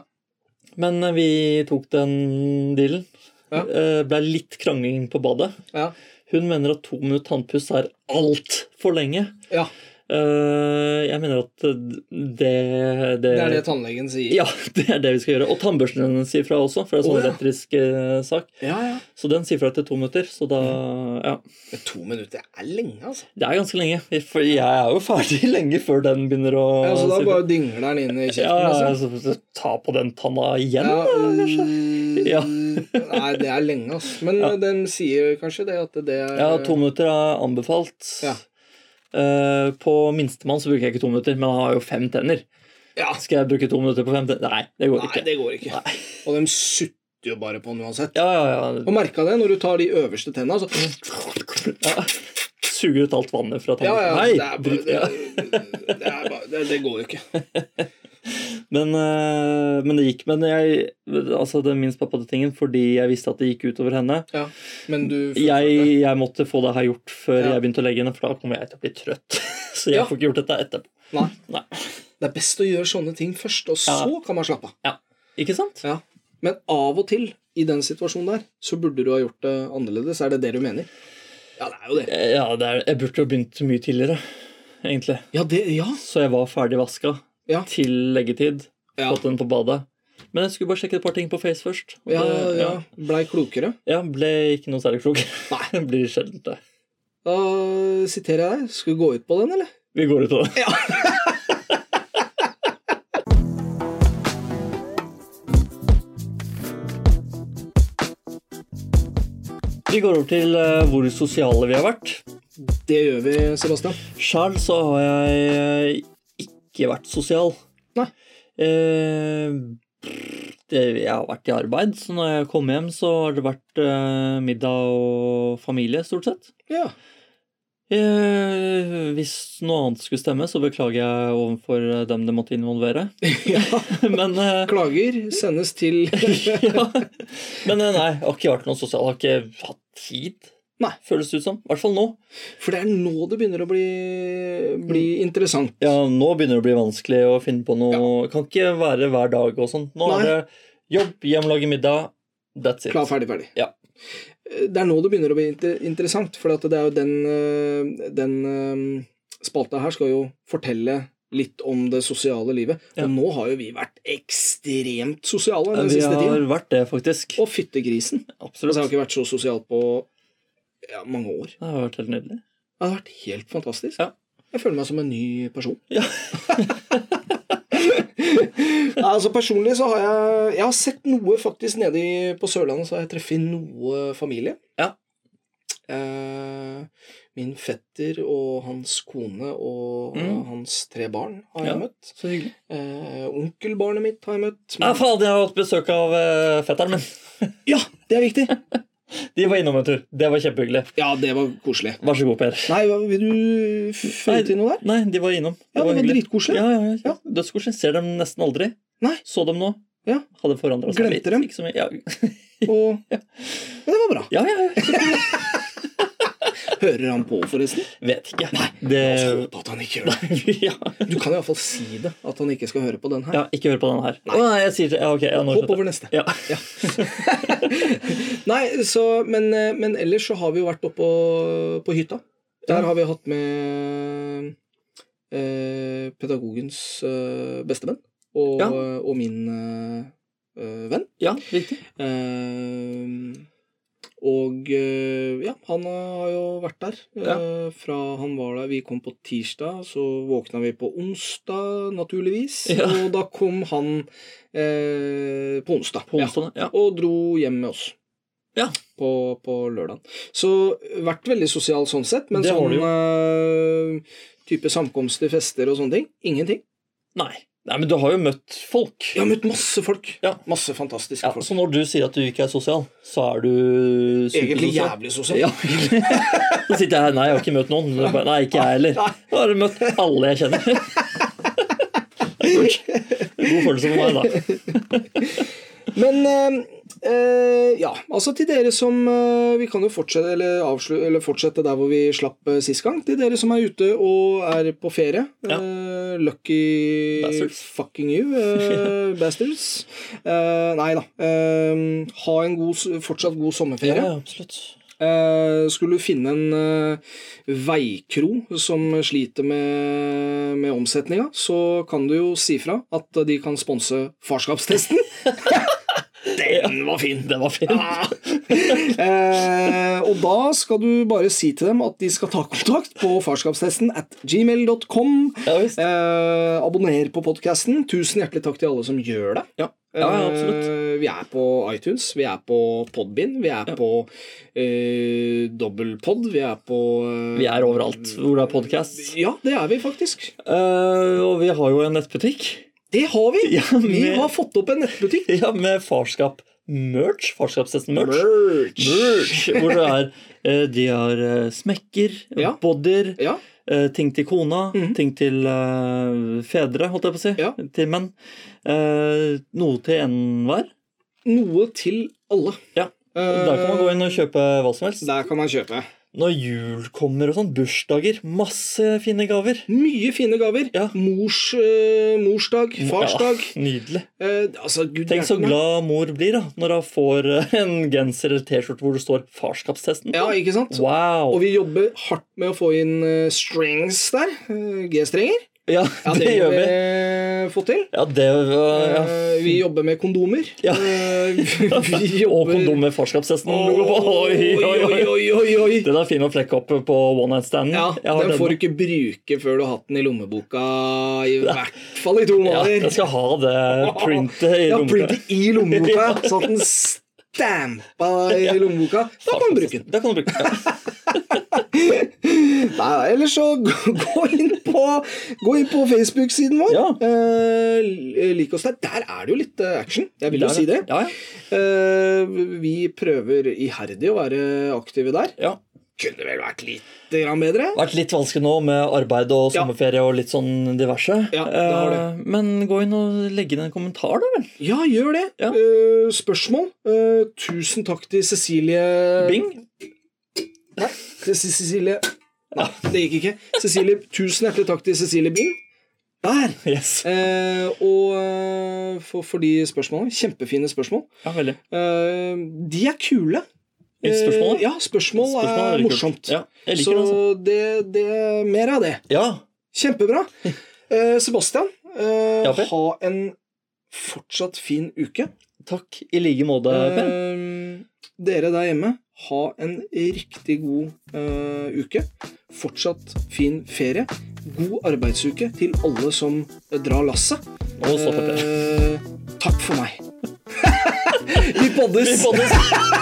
B: Men eh, vi tok den dealen.
A: Ja.
B: Eh, Blei litt krangling på badet.
A: Ja.
B: Hun mener at to minutter tannpuss er altfor lenge.
A: ja.
B: Eh, jeg mener at det
A: Det er det tannlegen sier.
B: Ja, det er det vi skal gjøre. Og tannbørsten hennes sier fra også, for det er sånn
A: Å, ja.
B: elektrisk eh, sak.
A: Ja, ja.
B: Så den sier fra etter to minutter, så da Ja.
A: Men To minutter er lenge, altså.
B: Det er ganske lenge, for jeg er jo ferdig lenge før den begynner å
A: Ja, så da
B: si fra.
A: bare dingler den inn i
B: ja,
A: kjeften,
B: ja,
A: altså.
B: så Ta på den tanna igjen,
A: Ja,
B: da, kanskje?
A: øh,
B: Ja.
A: Nei, det er lenge, altså. Men
B: Ja.
A: den sier kanskje det at det er
B: Ja, to minutter er anbefalt.
A: Ja.
B: Eh, på minstemann så bruker jeg ikke to minutter, men han har jo fem tenner.
A: Ja.
B: Skal jeg bruke to minutter på fem tenner? Nei, det
A: Ah.
B: går
A: Nei,
B: ikke.
A: det går ikke.
B: Nei.
A: Og de sutter jo bare på den uansett.
B: Ja, ja, ja.
A: Og merka det når du tar de øverste tenna, så
B: Mm. ja. Suger ut alt vannet
A: Ja,
B: fra tanna.
A: ja.
B: Nei,
A: Det, er bare,
B: drit- ja.
A: det, det, er bare, det, det går jo ikke.
B: Men, eh, men det gikk. Men jeg Altså, det minst pappa-tingen, fordi jeg visste at det gikk utover henne.
A: Ja. Men du
B: Jeg, jeg måtte få det her gjort før
A: Ja.
B: jeg begynte å legge henne, for da kommer jeg til å bli trøtt. Så jeg
A: Ja.
B: får ikke gjort dette etterpå.
A: Nei.
B: Nei.
A: Det er best å gjøre sånne ting først, og så
B: Ja.
A: kan man slappe av.
B: Ikke sant?
A: Ja. Men av og til i den situasjonen der, så burde du ha gjort det annerledes. Er det det du mener? Ja, det er jo det.
B: Eh, Ja, det er, jeg burde jo begynt mye tidligere, egentlig.
A: Ja, det, ja.
B: Så jeg var ferdig vaska
A: Ja.
B: til leggetid.
A: Ja.
B: Fått den på badet. Men jeg skulle bare sjekke et par ting på Face først. og
A: ja,
B: det-
A: ja. Blei klokere.
B: ja, ble ikke noe særlig klok.
A: Nei.
B: Det blir sjelden det.
A: Da siterer jeg deg. Skal vi gå ut på den, eller?
B: Vi går ut av det. Vi går over til eh, hvor sosiale vi har vært.
A: Det gjør vi, Sebastian.
B: Sjæl så har jeg eh, ikke vært sosial.
A: Nei.
B: Eh, pff, det, jeg har vært i arbeid, så når jeg kom hjem, så har det vært eh, middag og familie, stort sett.
A: Ja.
B: Eh, hvis noe annet skulle stemme, så beklager jeg overfor eh, dem det måtte involvere.
A: ja.
B: Men eh,
A: Klager sendes til
B: ja. Men eh, nei, jeg har ikke vært noe sosial. Jeg har ikke hatt tid,
A: Nei.
B: føles det ut som. I hvert fall nå.
A: For det er nå det begynner å bli, bli
B: Mm.
A: interessant.
B: Ja, nå begynner det å bli vanskelig å finne på noe. Kan ikke være hver dag og sånt. Nå
A: Nei.
B: er det jobb, hjem, lage middag. That's it.
A: Klar, ferdig, ferdig. Eh,
B: Ja.
A: Det er nå det begynner å bli inter interessant, for at det er jo den, eh, den eh, spalta her skal jo fortelle litt om det sosiale livet.
B: Ja.
A: Og nå har jo vi vært ekstremt sosiale den
B: Vi
A: siste tiden.
B: har vært det, faktisk.
A: Og fyttegrisen.
B: Absolutt.
A: Altså, jeg har ikke vært så sosial på ja, mange år.
B: Det har vært helt nydelig.
A: Det har vært helt fantastisk.
B: Ja.
A: Jeg føler meg som en ny person.
B: Ja.
A: Nei, altså Personlig så har jeg Jeg har sett noe faktisk nede i- på Sørlandet, så har jeg treffet noe familie.
B: Ja.
A: Eh, min fetter og hans kone og
B: Mm.
A: hans tre barn har
B: Ja.
A: jeg møtt.
B: Så hyggelig.
A: Eh, onkelbarnet mitt har jeg møtt.
B: Ja, faen, jeg har hatt besøk av eh, fetteren min.
A: Ja, det er viktig!
B: De var innom en tur. Det var kjempehyggelig.
A: Ja, det var koselig.
B: Vær så god, Per.
A: Nei, hva- vil du
B: Nei,
A: føye til noe der?
B: Nei, de var innom.
A: Ja, det var
B: hyggelig.
A: dritkoselig.
B: Ja, ja, ja.
A: Ja.
B: Dødskoselig. Ser dem nesten aldri.
A: Nei.
B: Så dem nå.
A: Ja.
B: Hadde forandra seg
A: Glemte
B: litt.
A: dem.
B: Ikke så mye. Ja.
A: Og, ja, det var bra.
B: ja, ja, ja.
A: Hører han på, forresten?
B: Vet ikke. Nei,
A: Jeg
B: det
A: håper at han ikke gjør det.
B: ja.
A: Du kan iallfall si det, at han ikke skal høre på den her.
B: ja, ikke hør på den her. Å, nei, jeg sier det. Ja, ok. Ja, nå
A: Hopp
B: skjønte jeg.
A: over neste.
B: Ja.
A: Nei, så, men, eh, men ellers så har vi jo vært oppe på, på hytta. Der
B: Ja.
A: har vi hatt med eh, pedagogens eh, bestevenn og,
B: Ja.
A: og min eh, eh, venn.
B: ja, riktig.
A: Eh, og eh, ja, han har jo vært der. eh, Fra han var der Vi kom på tirsdag, så våkna vi på onsdag, naturligvis.
B: Ja.
A: Og da kom han eh, på onsdag.
B: På
A: Ja.
B: onsdag, ja.
A: Og dro hjem med oss.
B: Ja.
A: På, på lørdag. Så vært veldig sosial sånn sett, men
B: Det har
A: sånn
B: du
A: eh, type samkomster, fester og sånne ting, ingenting.
B: Nei. nei, men du har jo møtt folk.
A: Jeg har møtt masse folk.
B: Ja.
A: Masse fantastiske
B: Ja,
A: folk.
B: så når du sier at du ikke er sosial, så er du
A: Egentlig
B: supersosial?
A: jævlig sosial.
B: Ja. Så sitter jeg her. Nei, jeg har ikke møtt noen. Så bare, Nei, ikke jeg heller.
A: Nei.
B: Jeg har møtt alle jeg kjenner. Det er kult. God følelse for meg, da.
A: Men eh, eh, ja, altså til dere som eh, Vi kan jo fortsette, eller avslu, eller fortsette der hvor vi slapp eh, sist gang. Til dere som er ute og er på ferie.
B: Ja.
A: eh, lucky
B: Bastards.
A: fucking you, eh, bastards. Eh, nei da. eh, ha en god, s- fortsatt god sommerferie.
B: Ja, absolutt.
A: Eh, skulle du finne en eh, veikro som sliter med, med omsetninga, så kan du jo si fra at de kan sponse farskapstesten. Den var fin!
B: Den var fin.
A: eh, og da skal du bare si til dem at de skal ta kontakt på farskapstesten at gmail.com.
B: Ja, visst.
A: Eh, abonner på podkasten. Tusen hjertelig takk til alle som gjør det.
B: Ja. Ja, ja, absolutt.
A: Eh, vi er på iTunes, vi er på Podbind, vi er på eh, Dobbelpod, vi er på eh,
B: Vi er overalt hvor det er podcasts.
A: Ja, det er vi faktisk.
B: Eh, og vi har jo en nettbutikk.
A: Det har vi!
B: Ja,
A: Vi
B: med-
A: har fått opp en nettbutikk.
B: Ja, med farskap merch. Farskapstesten merch.
A: Merch.
B: merch. Hvor det er eh, De har eh, smekker,
A: Ja.
B: bodyer,
A: Ja,
B: eh, ting til kona,
A: Mhm.
B: ting til eh, fedre, holdt jeg på å si.
A: Ja.
B: Til menn. Eh, noe til enhver.
A: noe til alle. Eh,
B: Ja, Der kan man gå inn og kjøpe hva som helst.
A: Der kan man kjøpe.
B: når jul kommer og sånn, bursdager, masse fine gaver.
A: Mye fine gaver.
B: Ja.
A: Mors, eh, morsdag, farsdag.
B: Ja, nydelig.
A: Eh, altså, gud
B: Tenk så
A: hjelpe meg.
B: glad mor blir da, når hun får eh, en genser eller T-skjorte hvor det står 'farskapstesten'. på.
A: Ja, ikke sant?
B: Wow!
A: Og vi jobber hardt med å få inn eh, strings der. eh, G-strenger.
B: Ja,
A: Ja,
B: det, gjør vi.
A: eh, få til.
B: Ja, det var, ja.
A: Eh, vi jobber med kondomer.
B: Ja.
A: Eh, vi vi
B: Og
A: jobber
B: kondom med farskapstesten. logo på. Oi, oi, oi, oi.
A: oi, oi, oi.
B: Den er fin å flekke opp på one night standen.
A: Ja,
B: Jeg har
A: den
B: den.
A: får du ikke bruke før du har hatt den i lommeboka, i hvert fall i to
B: ja,
A: måneder.
B: jeg skal ha det printet i
A: Ja,
B: lommeboka.
A: printet i lommeboka, så at den stampa i lommeboka. Da kan du bruke den.
B: Da kan du bruke den. Ja.
A: Nei, ellers så gå gå inn på, gå inn på Facebook-siden vår.
B: Ja.
A: Eh, lik oss der. Der er det jo litt eh, action. Jeg vil jo si det.
B: Ja, ja.
A: Eh, vi prøver iherdig å være aktive der.
B: ja.
A: Kunne vel vært litt grann bedre.
B: vært litt vanskelig nå med arbeid og
A: Ja.
B: sommerferie og litt sånn diverse.
A: Ja, det har det.
B: Eh, Men gå inn og legge inn en kommentar, da vel.
A: Ja, gjør det.
B: Ja.
A: Eh, spørsmål? Eh, tusen takk til Cecilie
B: Bing.
A: Nei, til Ce- Cecilie Nei, det gikk ikke. Cecilie, Tusen hjertelig takk til Cecilie Bing. Der!
B: Yes.
A: Eh, og eh, for, for de spørsmålene. Kjempefine spørsmål.
B: Ja, veldig.
A: Eh, de er kule.
B: I spørsmålet?
A: Eh, ja, spørsmål,
B: Spørsmålet
A: er,
B: veldig kult.
A: morsomt.
B: Ja, jeg
A: Så
B: liker det. altså.
A: det, det Mer av det.
B: Ja,
A: Kjempebra. Eh, Sebastian, eh,
B: Ja, Per?
A: ha en fortsatt fin uke.
B: takk i like måte, Eh, Per.
A: Eh, dere der hjemme, ha en riktig god eh, uke. Fortsatt fin ferie. God arbeidsuke til alle som eh, drar lasset.
B: Og så, Per.
A: Eh, takk for meg. Vi poddes!
B: Vi poddes.